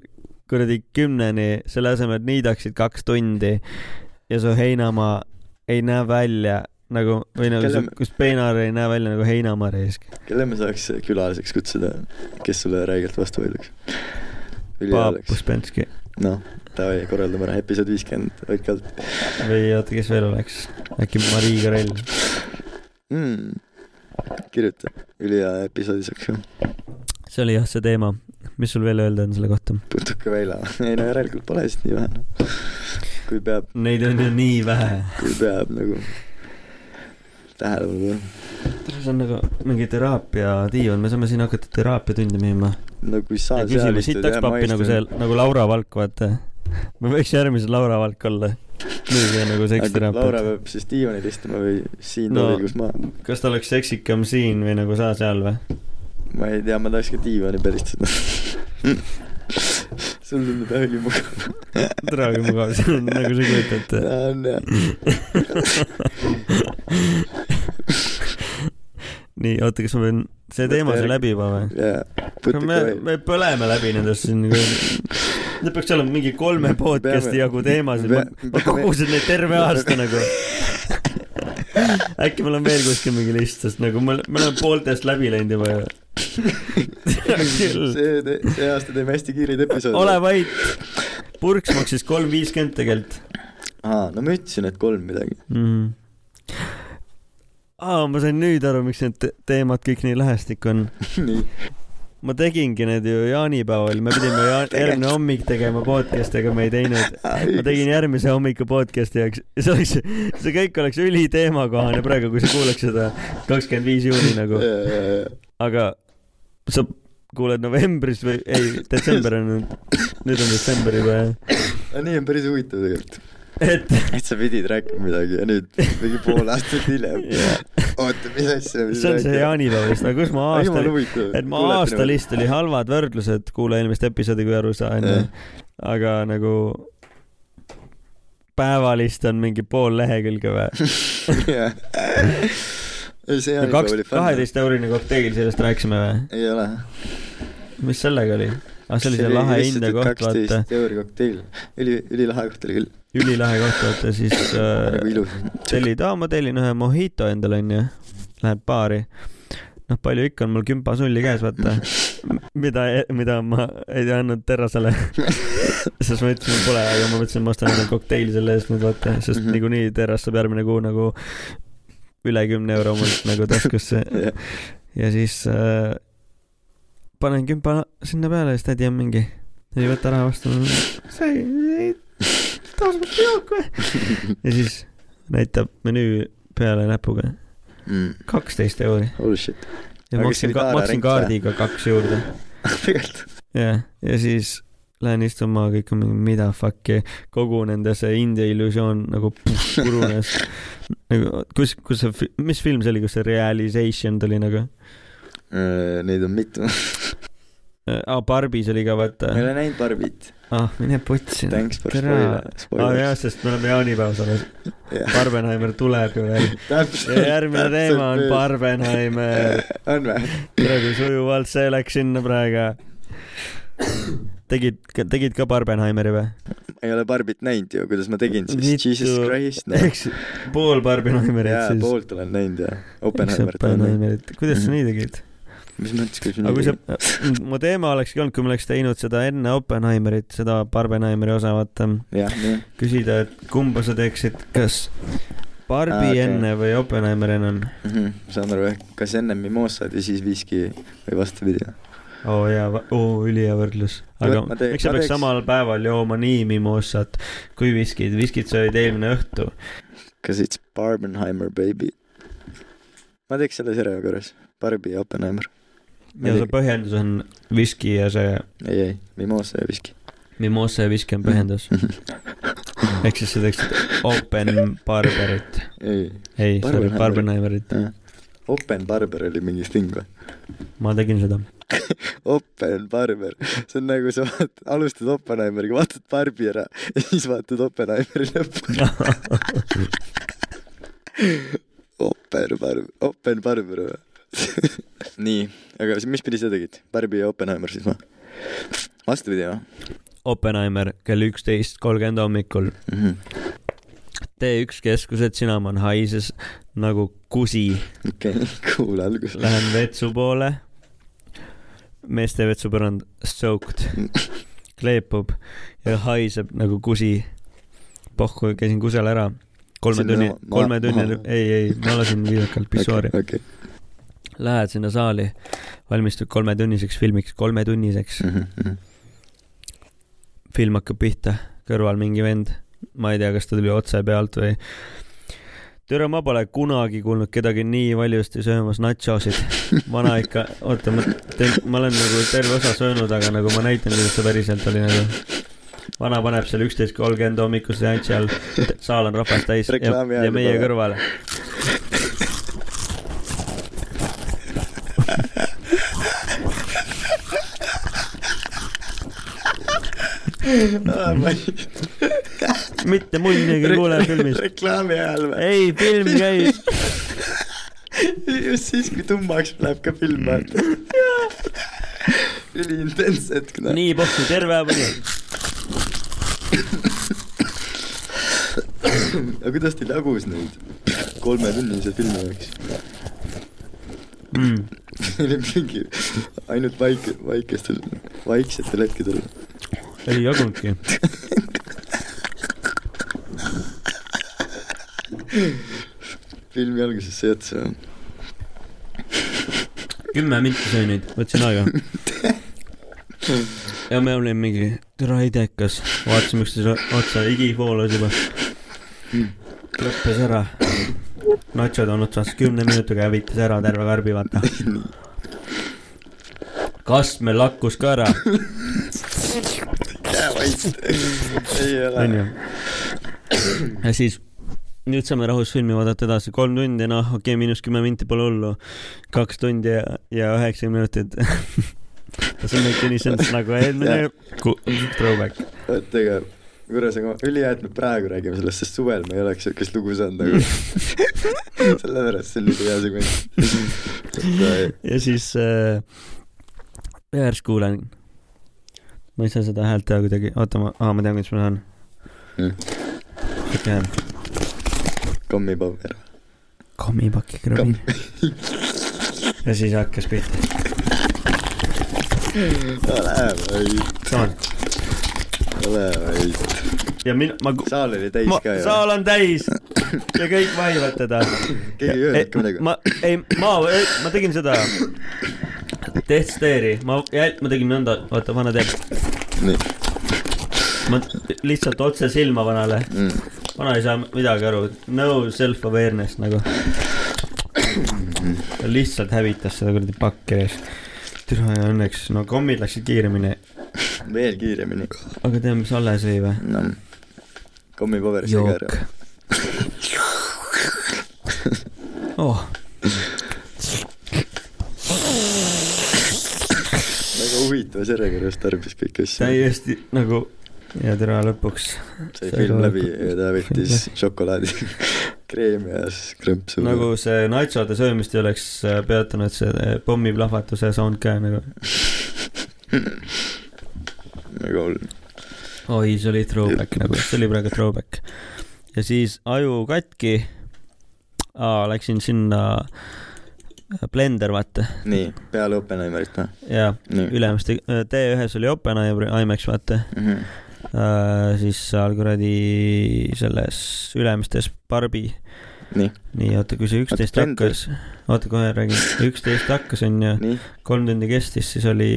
Speaker 1: kuradi kümneni , selle asemel , et niidaksid kaks tundi ja su heinamaa ei näe välja nagu , või nagu
Speaker 2: Kelle-
Speaker 1: su- kus peenar ei näe välja nagu heinamaa reisk .
Speaker 2: kelle me saaks külaliseks kutsuda , kes sulle räigelt vastu hoiduks ?
Speaker 1: Paap
Speaker 2: ülihea ,
Speaker 1: Uspenski
Speaker 2: noh , davai , korraldame ära episood viiskümmend , hoidke alt
Speaker 1: või oota , kes veel oleks , äkki Marii Karell .
Speaker 2: mm. . kirjuta , ülihea episoodi saaks ju ,
Speaker 1: see oli jah see teema , mis sul veel öelda on selle kohta ?
Speaker 2: putuka väila . ei no järelikult pole vist nii vähe , noh . kui peab ,
Speaker 1: Neid on ju nii vähe .
Speaker 2: kui peab nagu tähelepanu pöörama .
Speaker 1: see on nagu mingi teraapia diivan , me saame siin hakata teraapiatundi müüma .
Speaker 2: no kui sa
Speaker 1: ja küsime sitaks pappi nagu seal , nagu Laura Valk , vaata . me võiks järgmise Laura Valk olla . müügi nagu
Speaker 2: aga Laura
Speaker 1: seksteraapia .
Speaker 2: peab siis diivanil istuma või siin
Speaker 1: No.
Speaker 2: no. toolikus maha .
Speaker 1: kas ta oleks seksikam siin või nagu sa seal või ?
Speaker 2: ma ei tea , ma tahaks ka diivani päris seda . sul tundub jah ülimugav .
Speaker 1: tere , kui mugav see on , nagu sa kujutad ette .
Speaker 2: on jah .
Speaker 1: nii , oota , kas ma pean , see teema sai läbi juba või ?
Speaker 2: jaa ,
Speaker 1: no me
Speaker 2: putuka , väila .
Speaker 1: me põleme läbi nendest siin . Need peaks olema mingi kolme podcast'i
Speaker 2: Peame-
Speaker 1: jagu teemasid , ma
Speaker 2: pea-
Speaker 1: ma
Speaker 2: peame-
Speaker 1: kogusin neid terve aasta nagu . äkki mul on veel kuskil mingi list , sest nagu me , me oleme pooltest läbi läinud juba ju . küll ,
Speaker 2: see , see aasta teeme hästi kiireid episoode .
Speaker 1: ole vait . purks maksis kolm viiskümmend tegelikult
Speaker 2: aa , no ma ütlesin , et kolm midagi .
Speaker 1: mm. . aa , ma sain nüüd aru , miks need te- teemad kõik nii lähestikku on .
Speaker 2: nii ,
Speaker 1: ma tegingi need ju jaanipäeval , me pidime ja järgmine hommik tegema podcast'i , aga me ei teinud . ma tegin järgmise hommiku podcast'i jaoks ja see oleks , see kõik oleks üliteemakohane praegu , kui sa kuulaks seda kakskümmend viis juuni nagu ,
Speaker 2: nagu .
Speaker 1: aga sa kuuled novembris või ei , detsember on nüüd , nüüd on detsember juba jah .
Speaker 2: nii on päris huvitav tegelikult ,
Speaker 1: et
Speaker 2: et sa pidid rääkima midagi ja nüüd mingi pool aastat hiljem
Speaker 1: Jaa. .
Speaker 2: oota , mis asja .
Speaker 1: see on see jaanipäev vist , no kus ma aasta ,
Speaker 2: huvitav .
Speaker 1: et ma aasta . lihtsalt oli halvad võrdlused , kuula eelmist episoodi , kui aru sa onju
Speaker 2: Jah. ,
Speaker 1: aga nagu päevalist on mingi pool lehekülge või ?
Speaker 2: jah . see
Speaker 1: no
Speaker 2: jaanipäev
Speaker 1: kaks
Speaker 2: oli , fun .
Speaker 1: kaheteist eurine kokteil , sellest rääkisime või ?
Speaker 2: ei ole .
Speaker 1: mis sellega oli ? ah , see oli see lahe India koht , vaata ,
Speaker 2: kaksteist euri kokteil , üli , ülilahe koht oli küll ,
Speaker 1: ülilahe koht , vaata , siis
Speaker 2: nagu
Speaker 1: äh,
Speaker 2: ilus .
Speaker 1: tellid , aa , ma tellin ühe mojito endale , onju . Läheb baari . noh , palju ikka on mul kümpa sulli käes , vaata . mida , mida ma ei andnud Terrasele . sest ma ütlesin , pole , aga ma mõtlesin , ma ostan endale kokteili selle eest nüüd , vaata , sest
Speaker 2: Mhm.
Speaker 1: niikuinii Terras saab järgmine kuu nagu üle kümne euro mult nagu taskusse ja siis äh, panen kümpa sinna peale ja siis tädi on mingi , ei võta raha vastu , see ei , taas võtta jook või ? ja siis näitab menüü peale näpuga , Mm. kaksteist euri
Speaker 2: Oh shit ,
Speaker 1: ja
Speaker 2: Aga kas
Speaker 1: maksin
Speaker 2: see oli , taara
Speaker 1: maksin
Speaker 2: ring või?
Speaker 1: kaardiga kaks juurde
Speaker 2: tegelikult .
Speaker 1: ja , ja siis lähen istun maha , kõik on mingi mida fuck'i , kogu nende see India illusioon nagu puh, purunes nagu kus , kus see , mis film see oli , kus see realization tuli nagu ?
Speaker 2: äh, Neid on mitu ,
Speaker 1: aa , Barbies oli ka vaata
Speaker 2: ma . ei ole näinud Barbit ,
Speaker 1: ah , mine putsi .
Speaker 2: thanks for
Speaker 1: Tere. Ah,
Speaker 2: spoiler-
Speaker 1: aa jaa ,
Speaker 2: spoilers .
Speaker 1: sest me oleme jaanipäevas alles .
Speaker 2: jah ,
Speaker 1: Barbenheimer tuleb ju veel . ja järgmine teema on . Barbenheimer .
Speaker 2: on või ?
Speaker 1: tere , kui sujuvalt see läks sinna praegu . tegid , tegid ka Barbenheimeri või ?
Speaker 2: ei ole Barbit näinud ju , kuidas ma tegin siis , jesus christ , noh .
Speaker 1: eks pool Barbenheimerit
Speaker 2: jaa ,
Speaker 1: siis .
Speaker 2: poolt olen näinud ja
Speaker 1: eks
Speaker 2: Oppenheimerit Mm-hmm. olen näinud .
Speaker 1: Oppenheimerit , kuidas sa nii tegid ?
Speaker 2: mis mõttes , kui
Speaker 1: aga kui
Speaker 2: sul
Speaker 1: sa , mu teema olekski olnud , kui ma oleks teinud seda enne Oppenheimerit , seda Barbenheimeri osa , vaata
Speaker 2: jah , jah ,
Speaker 1: küsida , et kumba sa teeksid , kas Barbi
Speaker 2: Aa,
Speaker 1: ah,
Speaker 2: okei.
Speaker 1: okay. enne või Oppenheimer enne on ?
Speaker 2: Mhm. ma saan aru jah , kas enne mimoosad ja siis viski või vastupidi ? noh.
Speaker 1: oo oh, jaa , oo ülihea võrdlus . aga
Speaker 2: Ma
Speaker 1: te,
Speaker 2: tee-
Speaker 1: miks sa
Speaker 2: ma
Speaker 1: peaks
Speaker 2: teeks-
Speaker 1: samal päeval jooma nii mimoosat kui viskid , viskid sa jõid eelmine õhtu .
Speaker 2: Cause it's Barbenheimer baby . ma teeks selle serja korras , Barbi ja Oppenheimer .
Speaker 1: ja see põhjendus on viski ja see
Speaker 2: ei , ei , mimoosa ja viski .
Speaker 1: mimoosa ja viski on põhjendus . ehk siis sa teeksid Open Barberit ,
Speaker 2: ei ,
Speaker 1: ei , sorry ,
Speaker 2: Barbenheimerit.
Speaker 1: Barbenheimerit .
Speaker 2: Openbarber oli mingi sting või ?
Speaker 1: ma tegin seda .
Speaker 2: Oppenheimer , see on nagu sa vaat- , alustad Oppenheimeriga , vaatad Barbi ära ja siis vaatad Oppenheimeri lõppu . Oppenheimer , Oppenheimer või ? nii , aga siis mis pidi sa tegid , Barbi ja Oppenheimer siis või ? vastupidi või
Speaker 1: Oppenheimer kell üksteist kolmkümmend hommikul .
Speaker 2: mm ? -hmm.
Speaker 1: T1 keskused , Cinnamon haises nagu kusi .
Speaker 2: okei okay, , kuule algus .
Speaker 1: Lähen vetsu poole . meeste vetsupõrand soaked , kleepub ja haiseb nagu kusi . pohhu , käisin kusel ära . kolme
Speaker 2: Sinna
Speaker 1: tunni
Speaker 2: ma- , ma-
Speaker 1: kolme tunni
Speaker 2: maha- ,
Speaker 1: ei , ei , ma lasin viisakalt pissuaari .
Speaker 2: okei ,
Speaker 1: Lähed sinna saali , valmistud kolmetunniseks filmiks , kolmetunniseks .
Speaker 2: Mhm,
Speaker 1: film hakkab pihta , kõrval mingi vend , ma ei tea , kas ta tuli otse pealt või . tere , ma pole kunagi kuulnud kedagi nii valjusti söömas nachosid . vana ikka , oota , ma teen , ma olen nagu terve osa söönud , aga nagu ma näitan , kuidas see päriselt oli nagu . vana paneb seal üksteist kolmkümmend hommikul seansi all , saal on rahvast täis ja,
Speaker 2: Reklaami ajal
Speaker 1: ja meie
Speaker 2: juba.
Speaker 1: kõrval .
Speaker 2: okay. .
Speaker 1: mitte munnigi kuule filmis .
Speaker 2: reklaami ajal või ?
Speaker 1: ei , film käib .
Speaker 2: just siis , kui tummaks läheb ka film vaata . üliintens hetk noh .
Speaker 1: nii pohku , terve aeg oli .
Speaker 2: aga kuidas teil jagus neid kolmetunnise filmi jaoks ?
Speaker 1: Mm,
Speaker 2: oli mingi ainult vaike , vaikestel , vaiksetel hetkedel .
Speaker 1: ei jagunudki .
Speaker 2: filmi alguses sa ei otsa .
Speaker 1: kümme minti sõin neid , võtsin aega . ja me olime mingi türa idekas , vaatasime üksteisele otsa , higi voolas juba . lõppes ära . natsod on otsas , kümne minutiga hävitas ära terve karbi , vaata . kastme lakkus ka ära ,
Speaker 2: jää vait . ei ole .
Speaker 1: onju . ja siis nüüd saame rahus filmi vaadata edasi , kolm tundi , noh , okei okay, , miinus kümme minti pole hullu . kaks tundi ja , ja üheksakümmend minutit . see on ikka nii , see on nagu eelmine ku- throwback .
Speaker 2: oota , aga kuule , see on ülihea , et me praegu räägime sellest , sest suvel ma ei oleks siukest lugu saanud nagu . sellepärast see on nii hea segment .
Speaker 1: ja siis äh, järsku kuulen . ma ei saa seda häält teha kuidagi , oota ma , aa ma tean , kuidas ma saan .
Speaker 2: Mm.
Speaker 1: siuke hääl ,
Speaker 2: kommipaber .
Speaker 1: kommipaki krõbin . ja siis hakkas pihta ,
Speaker 2: ole vait ,
Speaker 1: saal .
Speaker 2: ole vait .
Speaker 1: ja mina , ma ,
Speaker 2: saal oli täis
Speaker 1: ma
Speaker 2: ka , ju .
Speaker 1: saal on täis ja kõik vahivad teda .
Speaker 2: keegi ei öelnud ka midagi .
Speaker 1: Eh, ma , ei , ma , ma tegin seda testeeri , ma , ma tegin nõnda , oota , vana teab ,
Speaker 2: nii
Speaker 1: ma lihtsalt otse silma vanale
Speaker 2: mm. .
Speaker 1: vana ei saa midagi aru , no self-awareness nagu . ta lihtsalt hävitas seda kuradi pakki ees . türa ja õnneks , no kommid läksid kiiremini ,
Speaker 2: veel kiiremini .
Speaker 1: aga tead , mis Alle sõi või ?
Speaker 2: no , kommipaber sai ka
Speaker 1: jook
Speaker 2: ära ..
Speaker 1: oh ,
Speaker 2: väga huvitavas järjekorras tarbis kõiki asju .
Speaker 1: täiesti nagu ja türa lõpuks
Speaker 2: sai
Speaker 1: sai
Speaker 2: film
Speaker 1: ka-
Speaker 2: läbi ja ta võttis šokolaadi kreemi ja siis krõmpsu .
Speaker 1: nagu see natsode söömist ei oleks äh, peatanud see äh, pommiplahvatuse sound ka nagu .
Speaker 2: väga Nagu hull .
Speaker 1: oi , see oli throwback nagu , see oli praegu throwback . ja siis aju katki . Läksin sinna äh, Blender vaata
Speaker 2: nii , peale Oppenheimerit või ?
Speaker 1: ja
Speaker 2: nii .
Speaker 1: ülemiste , T1-s oli Oppenheimer , IMAX vaata .
Speaker 2: Mhm.
Speaker 1: Äh, siis seal kuradi selles Ülemistes Barbi .
Speaker 2: nii ,
Speaker 1: nii , oota , kui see üksteist
Speaker 2: Oota, Blender.
Speaker 1: hakkas , oota kohe räägin , üksteist hakkas onju ,
Speaker 2: nii ,
Speaker 1: kolm tundi kestis , siis oli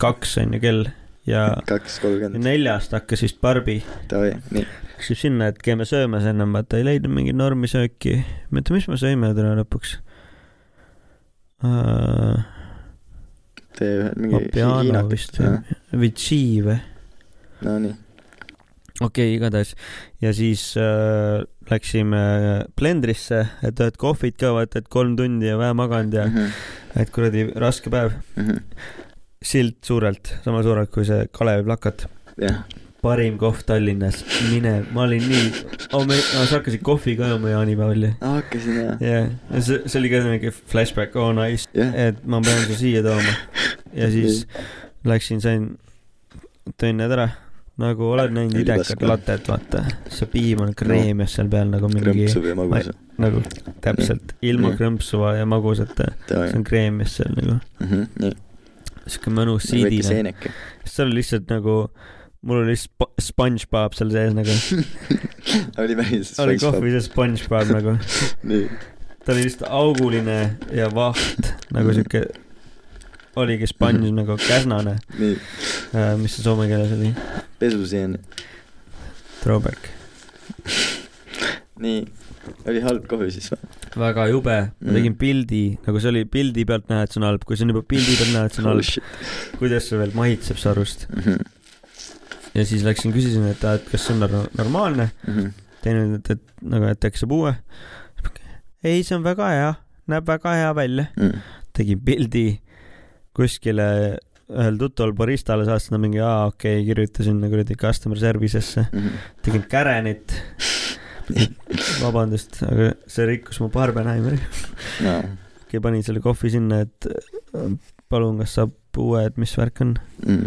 Speaker 1: kaks onju kell ja
Speaker 2: kaks kolmkümmend ,
Speaker 1: neljast hakkas vist Barbi
Speaker 2: davai , nii .
Speaker 1: läks siis sinna , et käime söömas ennem , vaata ei leidnud mingit normisööki . ma ei tea , mis me sõime täna lõpuks uh, .
Speaker 2: tee ühe mingi
Speaker 1: Vapiano
Speaker 2: hiinakat-
Speaker 1: vist
Speaker 2: jah.
Speaker 1: või , või tši või ?
Speaker 2: no nii ,
Speaker 1: okei okay, , igatahes ja siis äh, läksime Blendrisse , et ühed kohvid ka vaata , et kolm tundi ja vähe maganud ja
Speaker 2: Mhm.
Speaker 1: et kuradi raske päev . silt suurelt , sama suurelt kui see Kalevi plakat .
Speaker 2: jah ,
Speaker 1: parim kohv Tallinnas , mine , ma olin nii , sa hakkasid kohvi ka jooma jaanipäeval ju ?
Speaker 2: Ah, hakkasin jah .
Speaker 1: jah , see , see oli ka mingi flashback , oh nice
Speaker 2: Jah.
Speaker 1: et ma pean su siia tooma . ja siis läksin , sain , tõin need ära . nagu oled näinud
Speaker 2: Oli
Speaker 1: idekat
Speaker 2: paska.
Speaker 1: latet , vaata . see piim on kreemias seal peal nagu mingi ,
Speaker 2: krõmpsu või magusa .
Speaker 1: nagu täpselt , ilma
Speaker 2: Jah.
Speaker 1: krõmpsuva ja magusata . see on kreemias seal nagu .
Speaker 2: Mhm. nii ,
Speaker 1: sihuke mõnus
Speaker 2: väike
Speaker 1: siidine .
Speaker 2: seeneke .
Speaker 1: seal oli lihtsalt nagu , mul oli sp- , SpongeBob seal sees nagu .
Speaker 2: oli päris .
Speaker 1: oli kohvi sees SpongeBob nagu .
Speaker 2: nii ,
Speaker 1: ta oli vist auguline ja vaht , nagu sihuke , oligi sponž nagu käsnane ,
Speaker 2: nii ,
Speaker 1: mis see soome keeles oli ,
Speaker 2: pesuseen .
Speaker 1: throwback .
Speaker 2: nii , oli halb kohvi siis või ?
Speaker 1: väga jube , ma
Speaker 2: Mm.
Speaker 1: tegin pildi , nagu see oli pildi pealt näha , et see on halb , kui see on juba pildi pealt näha , et see on
Speaker 2: Oh,
Speaker 1: halb , kuidas see veel maitseb su arust .
Speaker 2: Mhm,
Speaker 1: ja siis läksin küsisin , et , et kas see on nor- normaalne ,
Speaker 2: mhm,
Speaker 1: teine ütles , et , et nagu , et äkki saab uue . ei , see on väga hea , näeb väga hea välja .
Speaker 2: mhm,
Speaker 1: tegin pildi kuskile ühel tuttaval baristale saatsin ta mingi , aa okei okay, , kirjutasin nagu kuradi customer service'isse ,
Speaker 2: mhm.
Speaker 1: tegin kärenit . vabandust , aga see rikkus mu barbenheimeri . okei , panin selle kohvi sinna , et äh, palun , kas saab uue , et mis värk on .
Speaker 2: mhm.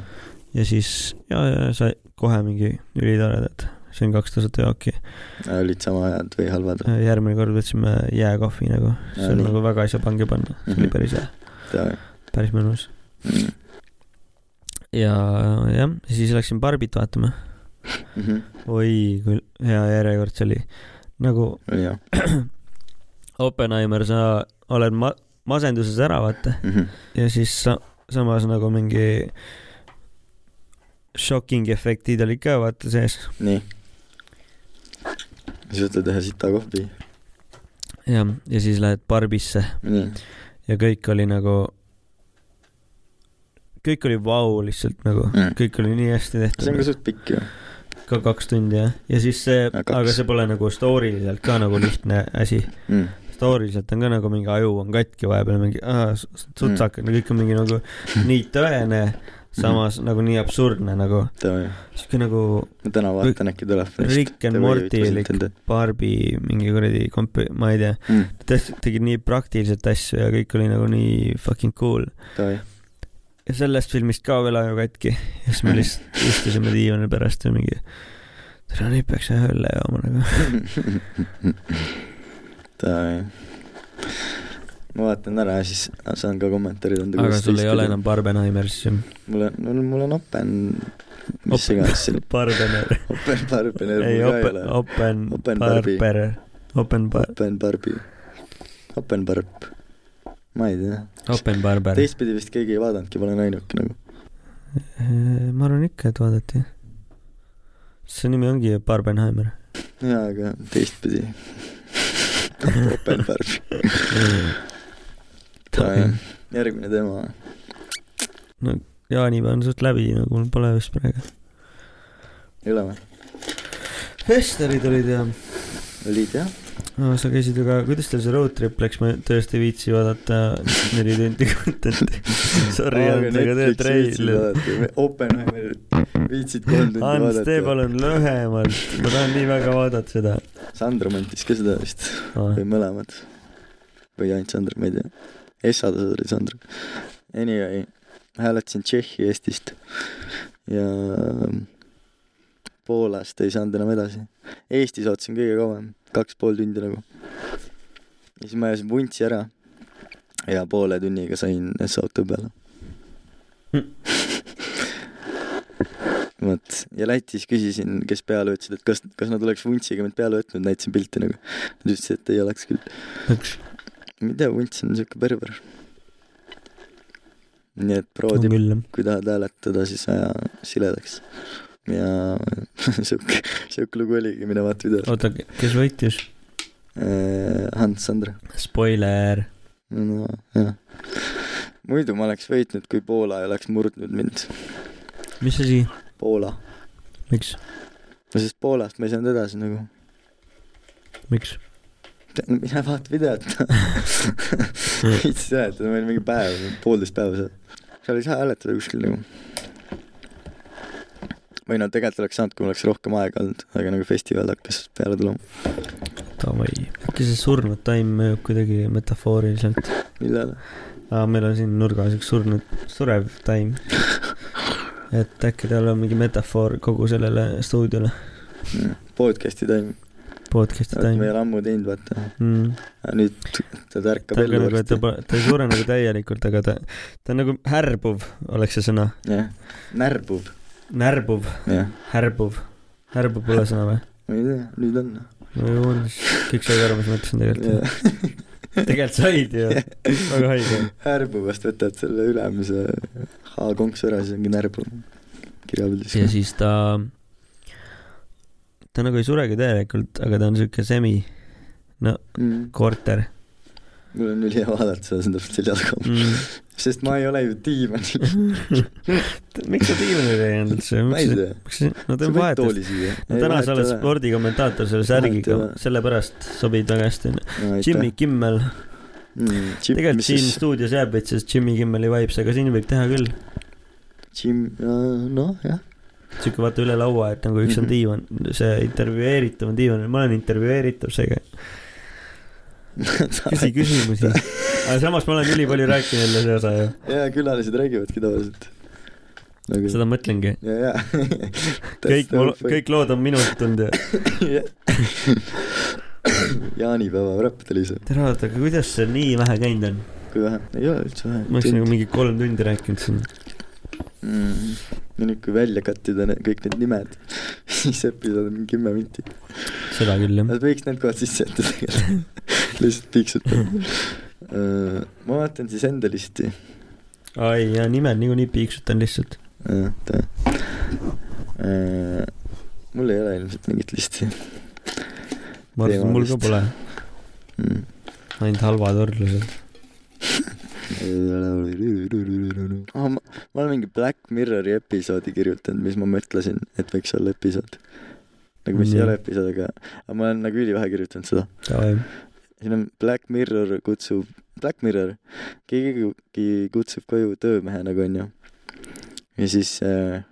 Speaker 1: ja siis , ja , ja sai kohe mingi ülitoredad , see on kaks tuhat jooki .
Speaker 2: olid sama head või halvad ?
Speaker 1: järgmine kord võtsime jääkohvi nagu , see oli
Speaker 2: Jaa, nii.
Speaker 1: nagu väga ei saa pange panna , see oli
Speaker 2: Mhm.
Speaker 1: päris hea , päris mõnus . ja jah , siis läksin Barbit vaatama .
Speaker 2: Mhm,
Speaker 1: oi , kui hea järjekord see oli . nagu
Speaker 2: oli jah .
Speaker 1: Oppenheimer , sa oled ma- , masenduses ära , vaata ,
Speaker 2: Mhm,
Speaker 1: ja siis sa, samas nagu mingi shocking efektid olid ka vaata sees
Speaker 2: nii . siis võtad ühe sita kohvi .
Speaker 1: ja , ja siis lähed barbisse
Speaker 2: nii ,
Speaker 1: ja kõik oli nagu , kõik oli vau wow, lihtsalt nagu
Speaker 2: Mm.
Speaker 1: mm. , kõik oli nii hästi
Speaker 2: see on ka
Speaker 1: tehtud ,
Speaker 2: suht pikk ju .
Speaker 1: ka kaks tundi jah , ja siis see ,
Speaker 2: Ja kaks.
Speaker 1: aga see pole nagu story liselt ka nagu lihtne asi ,
Speaker 2: Mhm,
Speaker 1: story liselt on ka nagu mingi aju on katki vahepeal mingi aa, s- s- sutsakad mm. , kõik on mingi nagu nii tõene ,
Speaker 2: Mm.
Speaker 1: samas nagu nii absurdne nagu ,
Speaker 2: tõe .
Speaker 1: sihuke nagu
Speaker 2: ma täna vaatan , äkki tuleb .
Speaker 1: Rick and Morty elik Barbi mingi kuradi komp- , ma ei tea ,
Speaker 2: Mhm,
Speaker 1: ta tõesti tegi nii praktiliselt asju ja kõik oli nagu nii fucking cool .
Speaker 2: tõe .
Speaker 1: ja sellest filmist ka veel aju katki ja siis me lihtsalt istusime diivanil pärast ja mingi täna nüüd peaks ühe õlle jooma nagu .
Speaker 2: tõe . ma vaatan ära ja siis saan ka kommentaarid anda .
Speaker 1: aga sul ei ole nagu enam . Barbenheimer siis ju .
Speaker 2: mul on , mul mul on Open , mis
Speaker 1: Open-
Speaker 2: iganes see
Speaker 1: Barbener .
Speaker 2: Open Barbener mul
Speaker 1: ei ,
Speaker 2: ka ei
Speaker 1: Open
Speaker 2: ole ,.
Speaker 1: Open ,
Speaker 2: Open
Speaker 1: Open
Speaker 2: Barbi.
Speaker 1: Barber , Open Bar- ,
Speaker 2: Open Barbi , Open Barb , ma ei tea ,
Speaker 1: Open Barber .
Speaker 2: teistpidi vist keegi ei vaadanudki , ma olen ainuke nagu .
Speaker 1: Äh, ma arvan ikka , et vaadati . see nimi ongi ju Barbenheimer .
Speaker 2: jaa , aga teistpidi . Open Barb , järgmine teema .
Speaker 1: jaanipäev on suht läbi , nagu mul pole vist praegu .
Speaker 2: ei ole või ?
Speaker 1: festerid olid ja
Speaker 2: olid jah ?
Speaker 1: no, . sa käisid ju ka , kuidas teil see road trip läks , ma tõesti ei viitsi vaadata neli tundi content'i . Sorry , aga tee treil .
Speaker 2: Oppenheimer viitsid kolm tundi
Speaker 1: Ants , tee
Speaker 2: vaadata .
Speaker 1: palun lühemalt , ma tahan nii väga vaadata seda . Ah,
Speaker 2: Sandra mõtles ka seda vist või mõlemad . või ainult Sandra , ma ei tea . Essa ta oli Sandra . Anyway , hääletasin Tšehhi Eestist ja Poolast ei saanud enam edasi . Eestis ootasin kõige kauem , kaks pool tundi nagu . ja siis ma ajasin vuntsi ära ja poole tunniga sain Essa auto peale . vot , ja Lätis küsisin , kes peale võtsid , et kas , kas nad oleks vuntsiga mind peale võtnud , näitasin pilti nagu . Nad ütlesid , et ei oleks küll .
Speaker 1: üks ,
Speaker 2: ma ei tea , Vunts on siuke perver . nii et
Speaker 1: on
Speaker 2: proovime ,
Speaker 1: küll jah .
Speaker 2: kui tahad hääletada , siis aja siledaks . ja siuke , siuke lugu oligi , mine vaata videot .
Speaker 1: oota , kes võitis ?
Speaker 2: Äh, Hans Sandra .
Speaker 1: Spoiler .
Speaker 2: no jah . muidu ma oleks võitnud , kui Poola ei oleks murdnud mind .
Speaker 1: mis asi ?
Speaker 2: Poola ,
Speaker 1: miks ?
Speaker 2: no sest Poolast ma ei saanud edasi nagu .
Speaker 1: miks ?
Speaker 2: mine vaata videot . viitsi seletada , meil mingi päev , poolteist päeva seal . seal ei saa hääletada kuskil nagu . või no tegelikult oleks saanud , kui mul oleks rohkem aega olnud , aga nagu festival hakkas peale tulema .
Speaker 1: Davai . äkki see surnud taim mõjub kuidagi metafooriliselt ?
Speaker 2: millal ?
Speaker 1: aa , meil on siin nurgas üks surnud , surev taim . et äkki tal on mingi metafoor kogu sellele stuudiole ,
Speaker 2: podcast'i taim ,
Speaker 1: podcast'i
Speaker 2: me
Speaker 1: taim
Speaker 2: ei ole ammu teinud , vaata .
Speaker 1: mm. .
Speaker 2: nüüd ta
Speaker 1: ta on
Speaker 2: tärkab
Speaker 1: ka
Speaker 2: ellu
Speaker 1: nagu , ta
Speaker 2: varsti .
Speaker 1: pole , ta ei sure nagu täielikult , aga ta , ta on nagu härbuv , oleks see sõna .
Speaker 2: jah , närbub ,
Speaker 1: närbuv ,
Speaker 2: jah .
Speaker 1: härbuv . härbuv pole sõna või ?
Speaker 2: ma ei tea , nüüd on .
Speaker 1: no ju on , kõik said aru , mis ma ütlesin tegelikult . tegelikult said ju , väga haige .
Speaker 2: närbuvast võtad selle ülemise H-konks ära , siis ongi närbu kirjapildis .
Speaker 1: ja siis ta , ta nagu ei suregi täielikult , aga ta on siuke semi ,
Speaker 2: mm.
Speaker 1: korter
Speaker 2: mul on ülihea vaadata seda , see on täpselt selja taga mm. ,
Speaker 1: mm. .
Speaker 2: sest ma ei ole ju diivan ,
Speaker 1: miks sa diivanile ei jäänud üldse ?
Speaker 2: ma ei tea .
Speaker 1: miks sa , no ta
Speaker 2: sa
Speaker 1: on
Speaker 2: võid
Speaker 1: vahetus .
Speaker 2: tooli siia .
Speaker 1: no täna sa oled spordikommentaator selle särgiga
Speaker 2: Vahet ei , ole.
Speaker 1: sellepärast sobid väga hästi . Jimmy . Kimmel , tegelikult siin
Speaker 2: Mm. siis
Speaker 1: stuudios jääb veits , sest Jimmy Kimmeli vibes , aga siin võib teha küll .
Speaker 2: Jim , noh jah ,
Speaker 1: siuke vaata üle laua , et nagu üks on
Speaker 2: Mhm.
Speaker 1: diivan , see intervjueeritav on diivan , ma olen intervjueeritav , seega küsi küsimusi . aga samas ma olen ülipalju rääkinud jälle see osa ju .
Speaker 2: ja külalised räägivadki tavaliselt . Nagu-
Speaker 1: seda ma mõtlengi .
Speaker 2: ja , ja .
Speaker 1: kõik , kõik lood on minult tulnud ja .
Speaker 2: jaanipäeva räpp tuli see ,
Speaker 1: tere , oota , aga kuidas see nii vähe käinud on ?
Speaker 2: kui vähe , ei ole üldse vähe .
Speaker 1: ma oleksin nagu mingi kolm tundi rääkinud siin .
Speaker 2: mm. . ja nüüd , kui välja kattida ne- kõik need nimed , siis episood on kümme minti .
Speaker 1: seda küll jah .
Speaker 2: Nad võiks need kohad sisse jätta tegelikult . lihtsalt piiksutab . ma vaatan siis enda listi .
Speaker 1: ai , ja nimed niikuinii piiksutan lihtsalt .
Speaker 2: Äh, mul ei ole ilmselt mingit listi
Speaker 1: ma arvan , et mul ka
Speaker 2: Teemalist.
Speaker 1: pole .
Speaker 2: mm. .
Speaker 1: ainult halvad võrdlused .
Speaker 2: Ah, ma, ma olen mingi Black Mirrori episoodi kirjutanud , mis ma mõtlesin , et võiks olla episood . nagu mis
Speaker 1: Nii.
Speaker 2: ei ole episood , aga , aga ma olen nagu ülivähe kirjutanud seda .
Speaker 1: Davai .
Speaker 2: siin on Black Mirror kutsub , Black Mirror , keegi kutsub koju töömehe nagu onju . ja siis äh,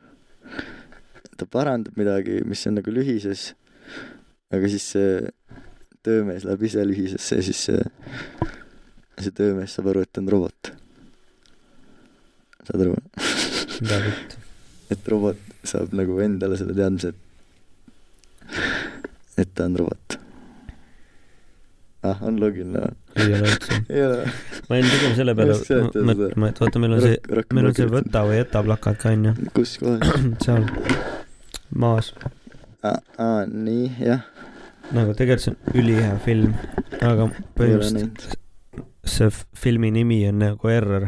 Speaker 2: ta parandab midagi , mis on nagu lühises . aga siis see töömees läheb ise lühisesse ja siis see , see töömees saab aru , et ta on robot . saad aru ,
Speaker 1: mida võtta .
Speaker 2: et robot saab nagu endale selle teadmise , et , et ta on robot . ah , on loogiline või ?
Speaker 1: ei ole üldse .
Speaker 2: ei ole
Speaker 1: ma jäin pigem selle peale
Speaker 2: Ma just seletan seda.
Speaker 1: mõtlema , et vaata , meil on see ,
Speaker 2: Rakk-
Speaker 1: meil on see
Speaker 2: Rakvere
Speaker 1: võta või jäta plakat ka onju ,
Speaker 2: kirjutab. kus kohas ?
Speaker 1: seal maas .
Speaker 2: aa , ah, nii , jah .
Speaker 1: nagu tegelikult see on ülihea film , aga põhimõtteliselt see f- filmi nimi on nagu Error .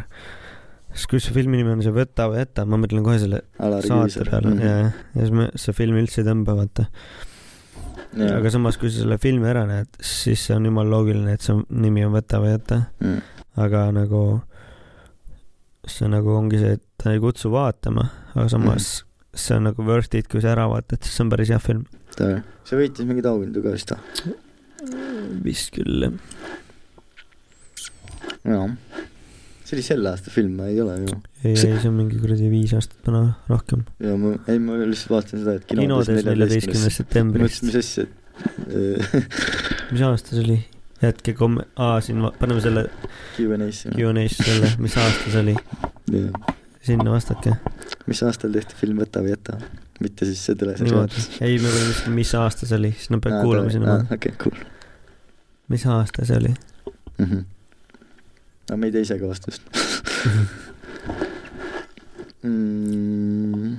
Speaker 1: siis kui see filmi nimi on see Võta või jäta , ma mõtlen kohe selle Mhm. saate peale
Speaker 2: Mhm.
Speaker 1: ja , ja siis me , see film üldse ei tõmba , vaata . aga samas , kui sa selle filmi ära näed , siis see on jumala loogiline , et see on- nimi on Võta või jäta ,
Speaker 2: Mm.
Speaker 1: aga nagu see nagu ongi see , et ta ei kutsu vaatama , aga samas mm. see on nagu worth it , kui sa ära vaatad , siis see on päris hea film .
Speaker 2: see võitis mingeid auhindu ka vist ah. või ?
Speaker 1: vist küll jah .
Speaker 2: jah . see oli selle aasta film , ma ei ole ju .
Speaker 1: ei ,
Speaker 2: See-
Speaker 1: ei , see on mingi kuradi viis aastat vana , rohkem .
Speaker 2: ja ma , ei ma lihtsalt vaatasin seda , et
Speaker 1: kinodes neljateistkümnes . septembris .
Speaker 2: mõtlesin , mis asja , äh, et
Speaker 1: mis aasta see oli ? jätke kom- , aa siin ma- paneme selle
Speaker 2: Q and A-sse .
Speaker 1: Q&A-sse selle , mis aasta see oli , sinna vastake .
Speaker 2: mis aastal tehti film Võta või jäta ? mitte siis see teleseeriaal .
Speaker 1: niimoodi , ei me peame lihtsalt , mis aasta see oli , siis nad peavad kuulama sinna ,
Speaker 2: okei , cool
Speaker 1: mis aasta see oli .
Speaker 2: mm .
Speaker 1: Mhm.
Speaker 2: -hmm. no me ei tea ise ka vastust mm, .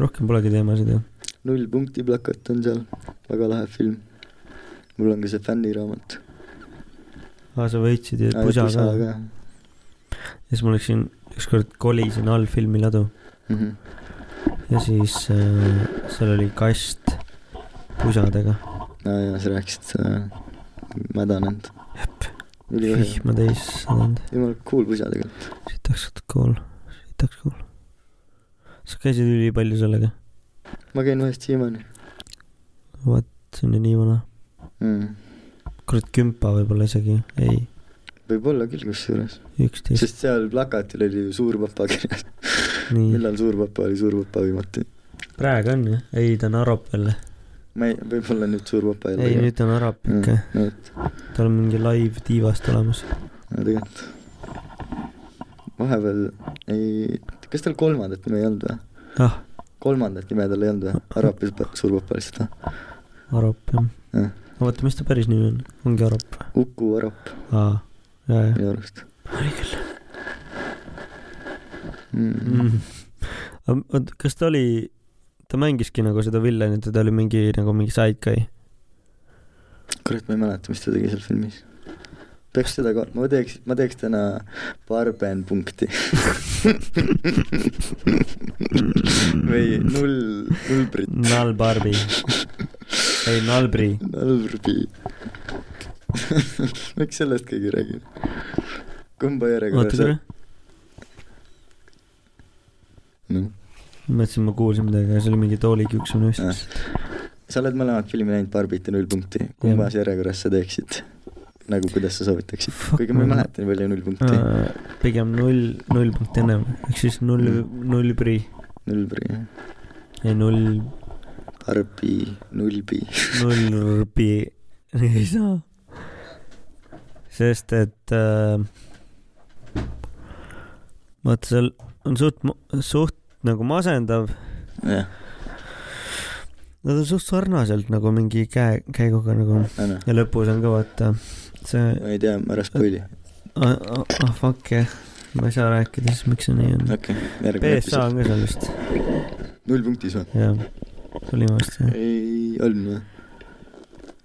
Speaker 1: rohkem polegi teemasid ju .
Speaker 2: null punkti plakat on seal , väga lahe film . mul on ka see fänniraamat .
Speaker 1: aa , sa võitsid ju pusa ka . ja siis ma läksin , ükskord kolisin all filmiladu
Speaker 2: Mm -hmm.
Speaker 1: ja siis äh, seal oli kast pusadega ,
Speaker 2: aa jaa , sa rääkisid seda äh, , mädanenud . ülihea ,
Speaker 1: vihma täis saanud ,
Speaker 2: jumala cool pusa tegelikult .
Speaker 1: siit oleks cool , siit oleks cool . sa käisid ülipalju sellega ?
Speaker 2: ma käin vahest siiamaani .
Speaker 1: vot , see on ju nii vana .
Speaker 2: mm. .
Speaker 1: kurat , kümpa võib-olla isegi , ei ,
Speaker 2: võib-olla küll kusjuures ,
Speaker 1: üksteist ,
Speaker 2: sest seal plakatil oli ju Suurpapa kirjas .
Speaker 1: nii .
Speaker 2: millal Suurpapa oli Suurpapa viimati ?
Speaker 1: praegu on jah ? ei , ta on arop veel .
Speaker 2: ma ei , võib-olla nüüd Suurpapa ei Mm.
Speaker 1: ei , nüüd ta on arop ikka .
Speaker 2: no vot ,
Speaker 1: tal on mingi live tiivast olemas .
Speaker 2: no tegelikult vahepeal ei , kas tal kolmandat nime ei olnud või ?
Speaker 1: ah ,
Speaker 2: kolmandat nime tal ei olnud või ? Arapis Suurpapa lihtsalt või ?
Speaker 1: arop jah .
Speaker 2: Jah.
Speaker 1: oota , mis ta päris nimi on ? ongi arop või ?
Speaker 2: Uku Arap
Speaker 1: aa , jaa , jah .
Speaker 2: minu arust
Speaker 1: oli küll .
Speaker 2: mm. .
Speaker 1: oot , kas ta oli , ta mängiski nagu seda villanit ja ta oli mingi nagu mingi side guy ?
Speaker 2: kurat , ma ei mäleta , mis ta tegi seal filmis . peaks seda ka , ma teeks , ma teeks täna barben punkti või null , nullbrit ,
Speaker 1: Nal Barbi . ei , Nalbri .
Speaker 2: nullbri . miks sellest keegi ei räägi ? kumba
Speaker 1: oota
Speaker 2: järjekorras
Speaker 1: korra ,?
Speaker 2: noh ,
Speaker 1: ma mõtlesin , ma kuulsin midagi , aga see oli mingi tooli kiuksamine
Speaker 2: Jah.
Speaker 1: vist .
Speaker 2: sa oled mõlemad filmi näinud , Barbit ja null punkti , kumbas järjekorras sa teeksid ? nagu kuidas sa soovitaksid ,
Speaker 1: Fuck,
Speaker 2: kuigi ma ei
Speaker 1: ma-
Speaker 2: mäleta nii palju null punkti ,
Speaker 1: Äh, pigem null , null punkt ennem , ehk siis null , nullbri ,
Speaker 2: nullbri jah
Speaker 1: ei null ,
Speaker 2: Arbi , Nulbi .
Speaker 1: nullbi ei saa . sest et äh, vaata , seal on suht , suht nagu masendav ,
Speaker 2: jah ,
Speaker 1: nad on suht sarnaselt nagu mingi käe , käiguga nagu
Speaker 2: anna .
Speaker 1: ja lõpus on ka vaata see
Speaker 2: ma ei tea , ma ära spoili .
Speaker 1: ah oh, oh, fuck jah , ma ei saa rääkida siis , miks see nii on .
Speaker 2: okei okay, ,
Speaker 1: PSA
Speaker 2: järgmine episood .
Speaker 1: on ka seal vist ,
Speaker 2: null punktis või ?
Speaker 1: jah . oli vast jah .
Speaker 2: ei , on või ?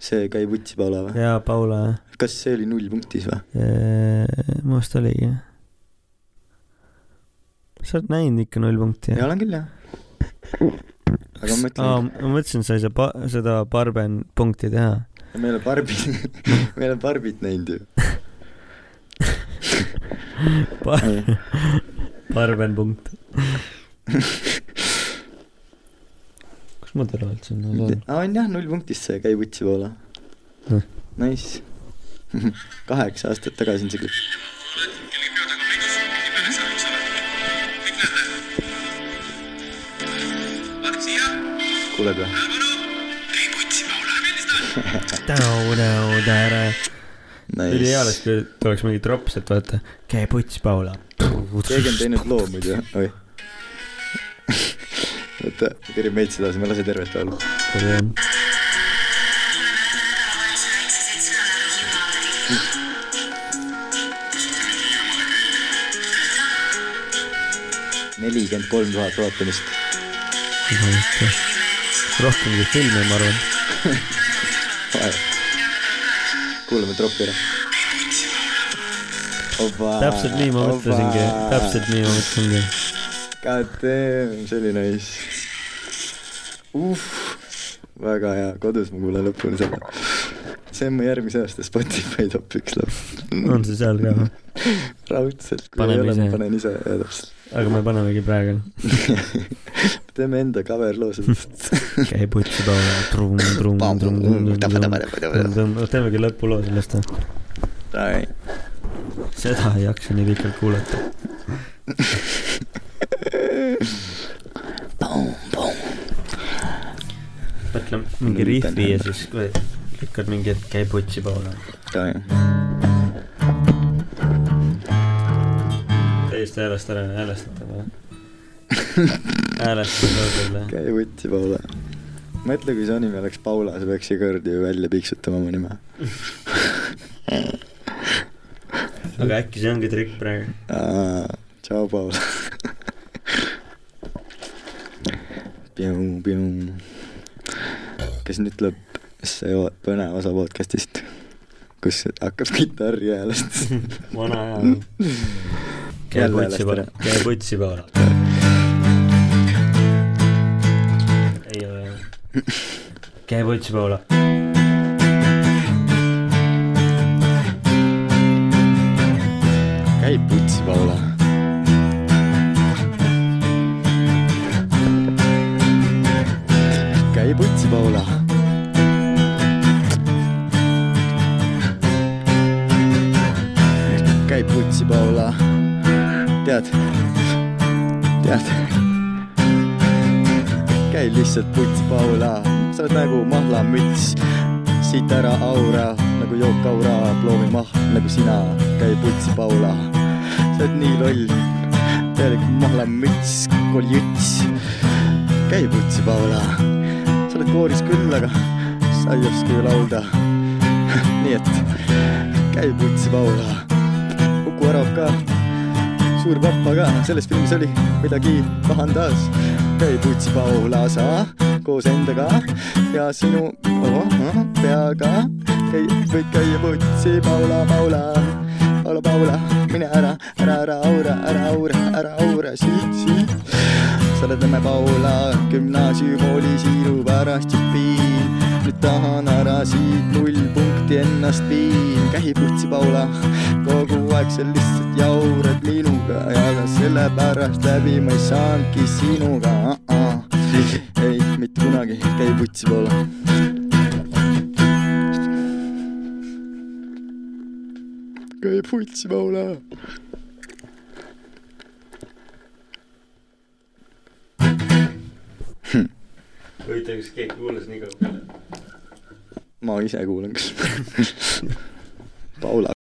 Speaker 2: see Kai Vutsi Paula või ?
Speaker 1: jaa , Paula
Speaker 2: kas see oli null punktis või ?
Speaker 1: jah . minu arust oligi . sa oled näinud ikka null punkti jah ?
Speaker 2: jaa ,
Speaker 1: Um.
Speaker 2: olen küll jah . aga ma
Speaker 1: aa ,
Speaker 2: mõtlen ,
Speaker 1: ma mõtlesin , sa ei saa pa- , seda barben punkti teha .
Speaker 2: me ei ole Barbit , me ei ole Barbit näinud ju .
Speaker 1: Bar- , barben punkt . kus ma teda üldse olen ?
Speaker 2: aa , on jah , null punktis see Kai Vutsi Paula
Speaker 1: Jah. .
Speaker 2: Nice . kaheksa aastat tagasi on see klipp . kuuled või ?
Speaker 1: tänu , tänu , tänu .
Speaker 2: Nice.
Speaker 1: ülihea oleks , kui tuleks mingi trops , et vaata , käi puts , Paula .
Speaker 2: keegi on teinud loo muidu , oih . oota , kerib meid sedasi , ma ei lase tervet laulu . nelikümmend kolm tuhat vaatamist .
Speaker 1: rohkem kui filme , ma arvan .
Speaker 2: kuulame tropi ära .
Speaker 1: täpselt nii ma mõtlesingi , täpselt nii ma mõtlesingi .
Speaker 2: God damn , see oli nice . uh , väga hea , kodus ma kuulan lõpuni seda . see on mu järgmise aasta Spotify top üks laul .
Speaker 1: on see seal ka või ?
Speaker 2: raudselt , kui
Speaker 1: Paneme
Speaker 2: ei ole , ma
Speaker 1: ise.
Speaker 2: panen ise , jaa täpselt .
Speaker 1: aga me panemegi praegu .
Speaker 2: teeme enda cover loo sellest .
Speaker 1: käi puts , Paula . trumm , trumm , trumm , trumm , trumm , trumm . teemegi lõpuloo sellest või ? seda ei jaksa nii pikalt kuulata . mõtle mingi rihvi ja siis või lükkad mingi , et käi putsi , Paula . täiesti häälest ära , häälestatav jah . häälestatav küll
Speaker 2: käi vutti , Paula . mõtle , kui su nimi oleks Paula , sa peaks iga kord ju välja piiksutama oma nime .
Speaker 1: jah , aga äkki see ongi trikk praegu .
Speaker 2: tšau , Paula . Piu-piu . kas nüüd tuleb see o- põnev osa podcastist , kus hakkab kitarri häälest ?
Speaker 1: vana hea . käi
Speaker 2: Jälle
Speaker 1: putsi , Paula
Speaker 2: häälestada. ,
Speaker 1: käi putsi , Paula . ei ole jah . käi putsi , Paula .
Speaker 2: käi putsi , Paula . käi putsi , Paula . tead , tead , käi lihtsalt puts Paula , sa oled nagu mahlamüts , siit ära aura nagu jookaura , ploomi maht nagu sina , käi puts Paula , sa oled nii loll , täielik mahlamüts , koljüts , käi puts Paula , sa oled kooris küll , aga sa ei oska ju laulda , nii et käi puts Paula , Kuku Arab ka suur vappa ka , selles filmis oli midagi pahandas . käi putsi Paula , sa koos endaga ja sinu oh, oh, peaga käi , võid käia putsi Paula , Paula , Paula , Paula , mine ära , ära , ära aura , ära aura , ära aura siit , siit . sa oled Nõmme Paula gümnaasiumikooli siinu pärast jupiin . nüüd tahan ära siit null punkti ennast viin . käi putsi Paula , kogu aeg sa lihtsalt jaurad minuga ja ka sellepärast läbi ma ei saanudki sinuga uh . -uh. ei , mitte kunagi , käi putsi Paula . käi putsi Paula .
Speaker 1: huvitav , kas keegi kuulas nii kaugele ?
Speaker 2: ma ise kuulan , kas Paula